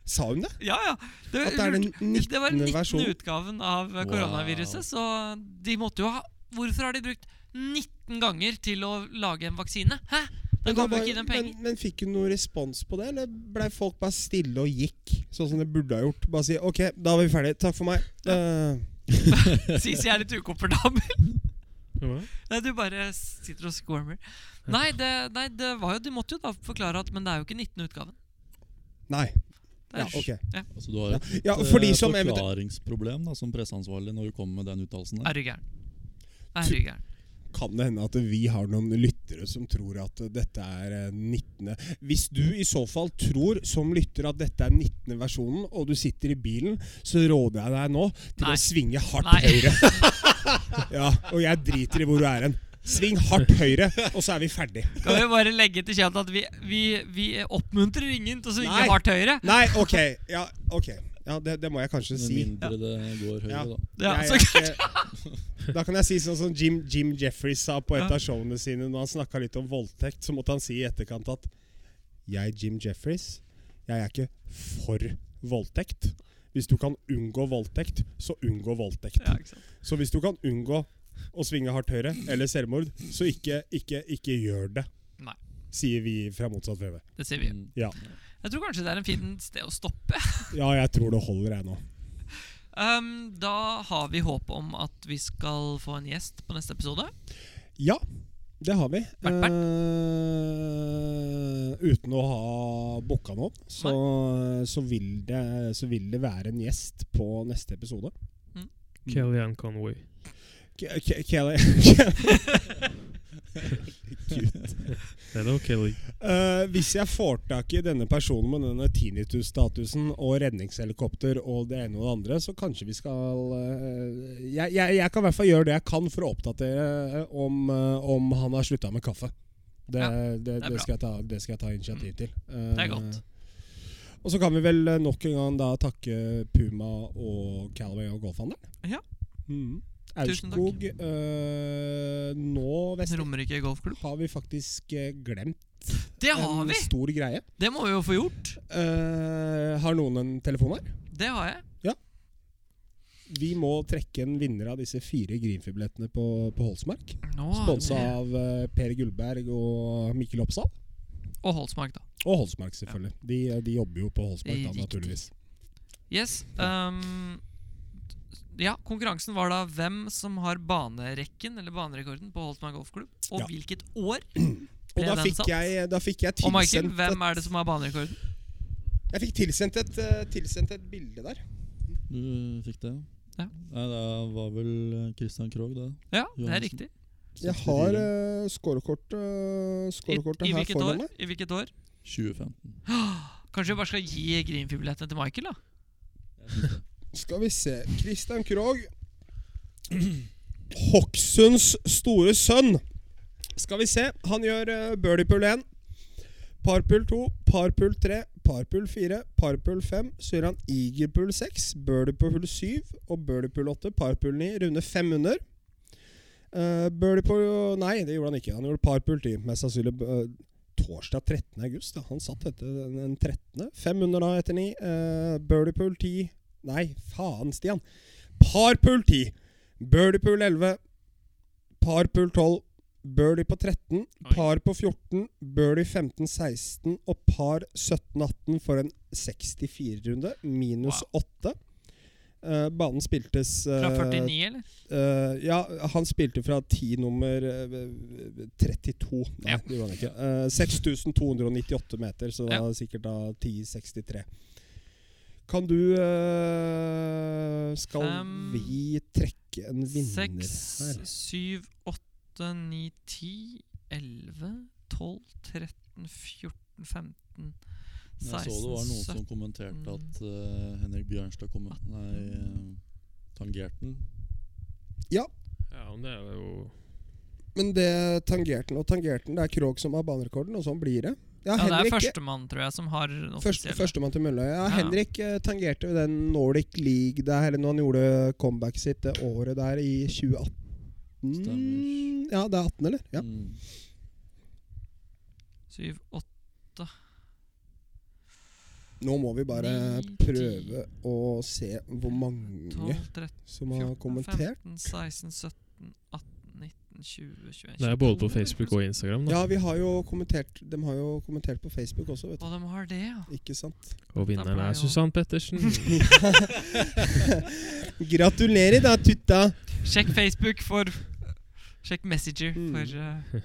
B: Sa hun det?
A: Ja, ja. Det,
B: At det er den
A: det var den
B: 19.
A: 19.
B: versjonen?
A: utgaven av eh, koronaviruset, så de måtte jo ha Hvorfor har de brukt 19 ganger til å lage en vaksine? Hæ? Da kan
B: Men, da
A: vi
B: var-
A: ikke gi dem penger?
B: men, men fikk hun noe respons på det, eller blei folk bare stille og gikk? Sånn som det burde ha gjort. Bare si OK, da var vi ferdige. Takk for meg. Eh,
A: Sisi er litt ukomfortabel.
D: Hva?
A: Nei, du bare sitter og squirmer. Nei, det, nei det var jo, du måtte jo da forklare at Men det er jo ikke 19-utgaven.
B: nei.
A: Det
B: Ja,
A: er
B: ok.
C: Altså, du har et
B: Ja, for de
C: eh,
B: som eventuelt
C: forklaringsproblem da, som presseansvarlig når du kommer med den uttalelsen. der.
A: Er du gæren? Er du gæren?
B: kan det hende at vi har noen lyttere som tror at dette er eh, 19. Hvis du i så fall tror som lytter at dette er 19. versjonen, og du sitter i bilen, så råder jeg deg nå til
A: Nei.
B: å svinge hardt
A: Nei.
B: høyre. ja, og jeg driter i hvor du er hen. Sving hardt høyre, og så er vi ferdig.
A: Kan vi bare legge til kjent at vi, vi, vi oppmuntrer ingen til å
B: Nei.
A: synge hardt høyre?
B: Nei, OK. Ja, ok. Ja, det, det må jeg kanskje
C: Med
B: si.
C: mindre det går høyere,
B: Ja.
C: da.
A: Ja,
B: Jeg
A: så,
B: er ikke- da kan jeg si sånn som Jim, Jim Jeffries sa på et
A: Ja.
B: av showene sine når han snakka litt om voldtekt, så måtte han si i etterkant at jeg, Jim Jeffries, jeg er ikke for voldtekt. Hvis du kan unngå voldtekt, så unngå voldtekt.
A: ja, ikke sant.
B: Så hvis du kan unngå å svinge hardt høyre eller selvmord, så ikke, ikke, ikke gjør det.
A: Nei.
B: Sier vi fra motsatt VV.
A: Det sier vi.
C: Mm.
B: Ja.
A: Jeg tror kanskje det er en fin sted å stoppe.
B: ja, jeg tror det holder, jeg nå.
A: Um, da har vi håp om at vi skal få en gjest på neste episode.
B: Ja, det har vi.
A: Bert, Bert?
B: Eh, uten å ha booka noen, så, så, vil det, så vil det være en gjest på neste episode.
D: Kellyanne Conway.
B: K- K- Kelly Cute.
D: Hello, Kelly.
B: Eh, hvis jeg får tak i denne personen med denne tinnitus-statusen og redningshelikopter og det ene og det andre, så kanskje vi skal eh, jeg, jeg, jeg kan i hvert fall gjøre det jeg kan for å oppdatere om, eh, om han har slutta med kaffe. Det,
A: Ja,
B: det,
A: er
B: det,
A: bra. Mm.
B: skal jeg ta, det skal jeg ta initiativ til.
A: Det
B: Eh,
A: er godt.
B: Og så kan vi vel eh, nok en gang da takke Puma og Calaway og Golfhandelen.
A: Ja.
B: Mm.
A: Tusen takk.
B: Aurskog eh, nå, Vester,
A: Romerike golfklubb.
B: har vi faktisk eh, glemt
A: Det har
B: en
A: vi!
B: stor greie.
A: Det må vi jo få gjort.
B: Eh, har noen en telefon her?
A: Det har jeg.
B: Vi må trekke en vinner av disse fire Greenfield-billettene på, på Holsmark.
A: Nå,
B: Sponsa av eh, Per Gullberg og Mikkel Oppsal.
A: Og Holsmark, da.
B: Og Holsmark, selvfølgelig. De, eh, de jobber jo på Holsmark, da,
A: Riktig.
B: naturligvis.
A: Yes. ehm, ja, konkurransen var da hvem som har banerekken, eller banerekorden, på Holsmark golfklubb. Og
B: Ja.
A: hvilket år.
B: Og da
A: den
B: fikk,
A: satt?
B: jeg, da fikk jeg
A: Og Michael,
B: tilsendt
A: hvem er det som har banerekorden?
B: Jeg fikk tilsendt et, eh, tilsendt et bilde der.
C: Mm. Du fikk det,
A: Ja.
C: Nei, det var vel eh, Christian Krogh, det.
A: Ja, det er
C: Johansen.
A: riktig.
B: Jeg har uh, scorekortet
A: I, i,
B: her
A: hvilket
B: foran
A: år?
B: meg.
A: I hvilket år?
C: 2015.
A: Kanskje vi bare skal gi Greenfield-billettene til Michael, da?
B: Skal vi se Christian Krogh. Hoksunds store sønn. Skal vi se. Han gjør eh, birdie pull 1. Parpull 2, parpull 3, parpull 4, parpull 5. Så gjør han eagle pull 6, birdie pull 7 og birdie pull 8, parpull 9. Runde 5 under. Eh, birdie pull Nei, det gjorde han ikke. Han gjorde parpull 10. Mest sannsynlig eh, torsdag 13. august. Da. Han satt etter den den 13. 5 under da etter 9. Uh, birdie pull 10. Nei, faen, Stian. Parpool 10. Birdiepool 11. Parpool 12. birdie på 13,
D: Oi.
B: par på 14, birdie 15-16 og par 17-18 for en 64-runde, minus 8. Eh, banen spiltes eh,
A: Fra 49, eller?
B: eh, ja, han spilte fra 10 nummer eh, 32. Nei,
A: Ja.
B: det gjorde han ikke. Eh, 6298 meter, så det
A: Ja.
B: var sikkert da 1063. Kan du eh, Skal
A: Fem,
B: vi trekke en vinner her?
A: 6, 7, 8, 9, 10, 11, 12, 13, 14, 15,
C: Men Jeg så
A: 16,
C: det var
A: 17
C: noen som
B: Mm.
C: kommenterte at eh, Henrik Bjørnstad kom Nei, eh, tangerte den.
D: Ja, men det er jo
B: Men det tangerte den og tangerte den. Det er Krog som har banerekorden, og sånn blir det.
A: Ja,
B: Ja,
A: det er
B: Henrik,
A: førstemann, tror jeg, som har den
B: først,
A: offisielle.
B: Førstemann til mølla. Ja,
A: Ja.
B: Henrik eh, tangerte jo den Nordic League der eller når han gjorde comebacket sitt det året der i 2018.
C: Stemmer.
B: Ja, det er 18, eller? Ja.
C: Mm.
A: 7, 8,
B: Nå må vi bare
A: Ni, ti,
B: prøve å se hvor mange
A: 12, 13,
B: som har
A: 14,
B: kommentert.
A: 15, 16, 17, 18, 19, 20, 21
D: Det er både på Facebook og Instagram. Da.
B: Ja, vi har jo kommentert De har jo kommentert på Facebook også, vet du.
A: Og de har det, ja.
B: Ikke sant?
D: Og vinneren
A: Da ble
D: er
A: jo-
D: Susann Pettersen.
B: Gratulerer da, tutta!
A: Sjekk Facebook for Sjekk Messenger
B: Mm.
A: for eh,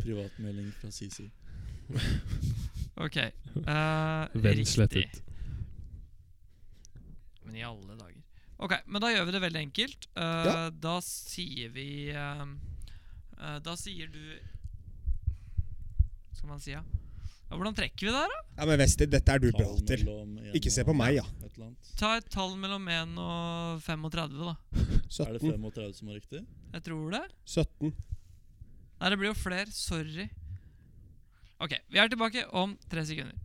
C: Privatmelding fra Sisi.
A: OK. eh,
D: Venn
A: riktig.
D: slettet.
A: Men i alle dager. Ok, men da gjør vi det veldig enkelt. Eh,
B: Ja.
A: Da sier vi eh, eh, Da sier du Skal man si, ja? ja hvordan trekker vi det her, da?
B: Ja, men Wester, dette er du bra til. Ikke se på meg, ja.
C: ja.
A: Ta et tall mellom 1 og 35, da.
C: Er det
B: 17.
C: 35 som er riktig?
A: Jeg tror det.
B: 17.
A: Nei, det blir jo flere. Sorry. Ok, vi er tilbake om tre sekunder.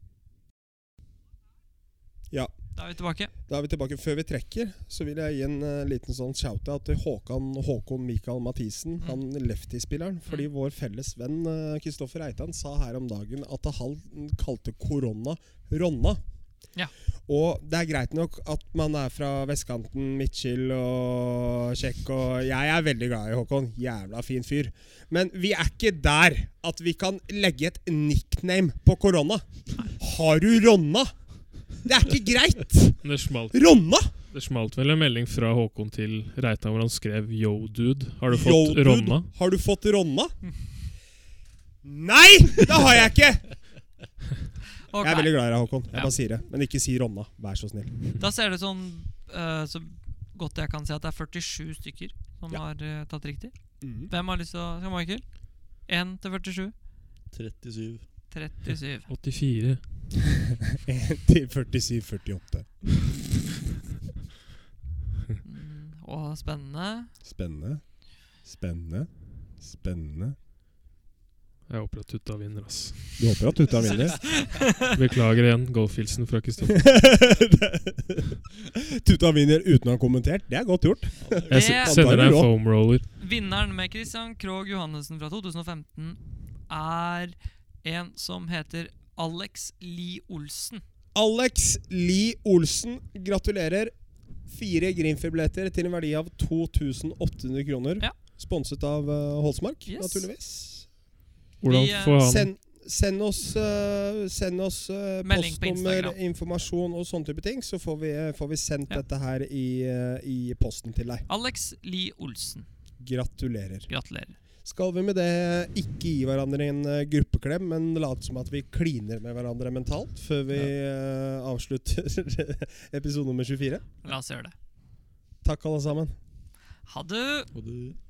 B: Ja.
A: Da er vi tilbake.
B: Da er vi tilbake. Før vi trekker, så vil jeg gi en eh, liten sånn shout-out til Håkan Håkon Mikael Mathisen,
A: Mm.
B: han lefty-spilleren. Fordi vår felles venn eh, Kristoffer Eitan sa her om dagen at han kalte korona Ronna.
A: Ja.
B: Og det er greit nok at man er fra vestkanten, Midtskill og Tsjekk og Jeg er veldig glad i Håkon. Jævla fin fyr. Men vi er ikke der at vi kan legge et nickname på korona. Har du Ronna? Det er ikke greit!
D: Men Det smalt,
B: Ronna!
D: det smalt vel en melding fra Håkon til Reitan hvor han skrev 'yo, dude'. Har du
B: Yo,
D: fått
B: dude,
D: Ronna?
B: Har du fått Ronna? Nei! Det har jeg ikke!
A: Ok,
B: Jeg er veldig glad i deg, Håkon. Jeg
A: Ja.
B: bare sier det. Men ikke si Ronna. Vær så snill.
A: Da ser det sånn eh, Så godt jeg kan se at det er 47 stykker som
B: Ja.
A: har eh, tatt riktig. Hvem har lyst til å Skal Michael? 1 til 47?
C: 37.
A: 37.
D: 84.
B: 1 til 47, 48.
A: Mm, og spennende.
B: Spennende. Spennende. Spennende.
D: Jeg håper at Tutta vinner, ass.
B: Du håper at Tutta vinner?
D: Beklager igjen golfhilsen fra Kristoffer.
B: Tutta vinner uten å ha kommentert. Det er godt gjort.
A: Det
D: Jeg se- sender deg en foam roller.
A: Vinneren med Christian Krogh Johannessen fra 2015 er en som heter Alex Lie Olsen.
B: Alex Lie Olsen, gratulerer. Fire Grimfjell-billetter til en verdi av 2800 kroner.
A: Ja.
B: Sponset av eh, Holsmark,
A: Yes.
B: naturligvis.
D: Hvordan
A: Vi, eh,
D: får han
B: Send, send oss, eh, send oss eh,
A: Melding på
B: postnummer,
A: Instagram.
B: informasjon og sånne type ting, så får vi, eh, får vi sendt
A: Ja.
B: dette her i, eh, i posten til deg.
A: Alex Lie Olsen.
B: Gratulerer.
A: Gratulerer.
B: Skal vi med det ikke gi hverandre en eh, gruppeklem, men late som at vi kliner med hverandre mentalt før vi eh, avslutter episode nummer 24?
A: La oss gjøre det.
B: Takk, alle sammen.
A: Ha det!
C: Og du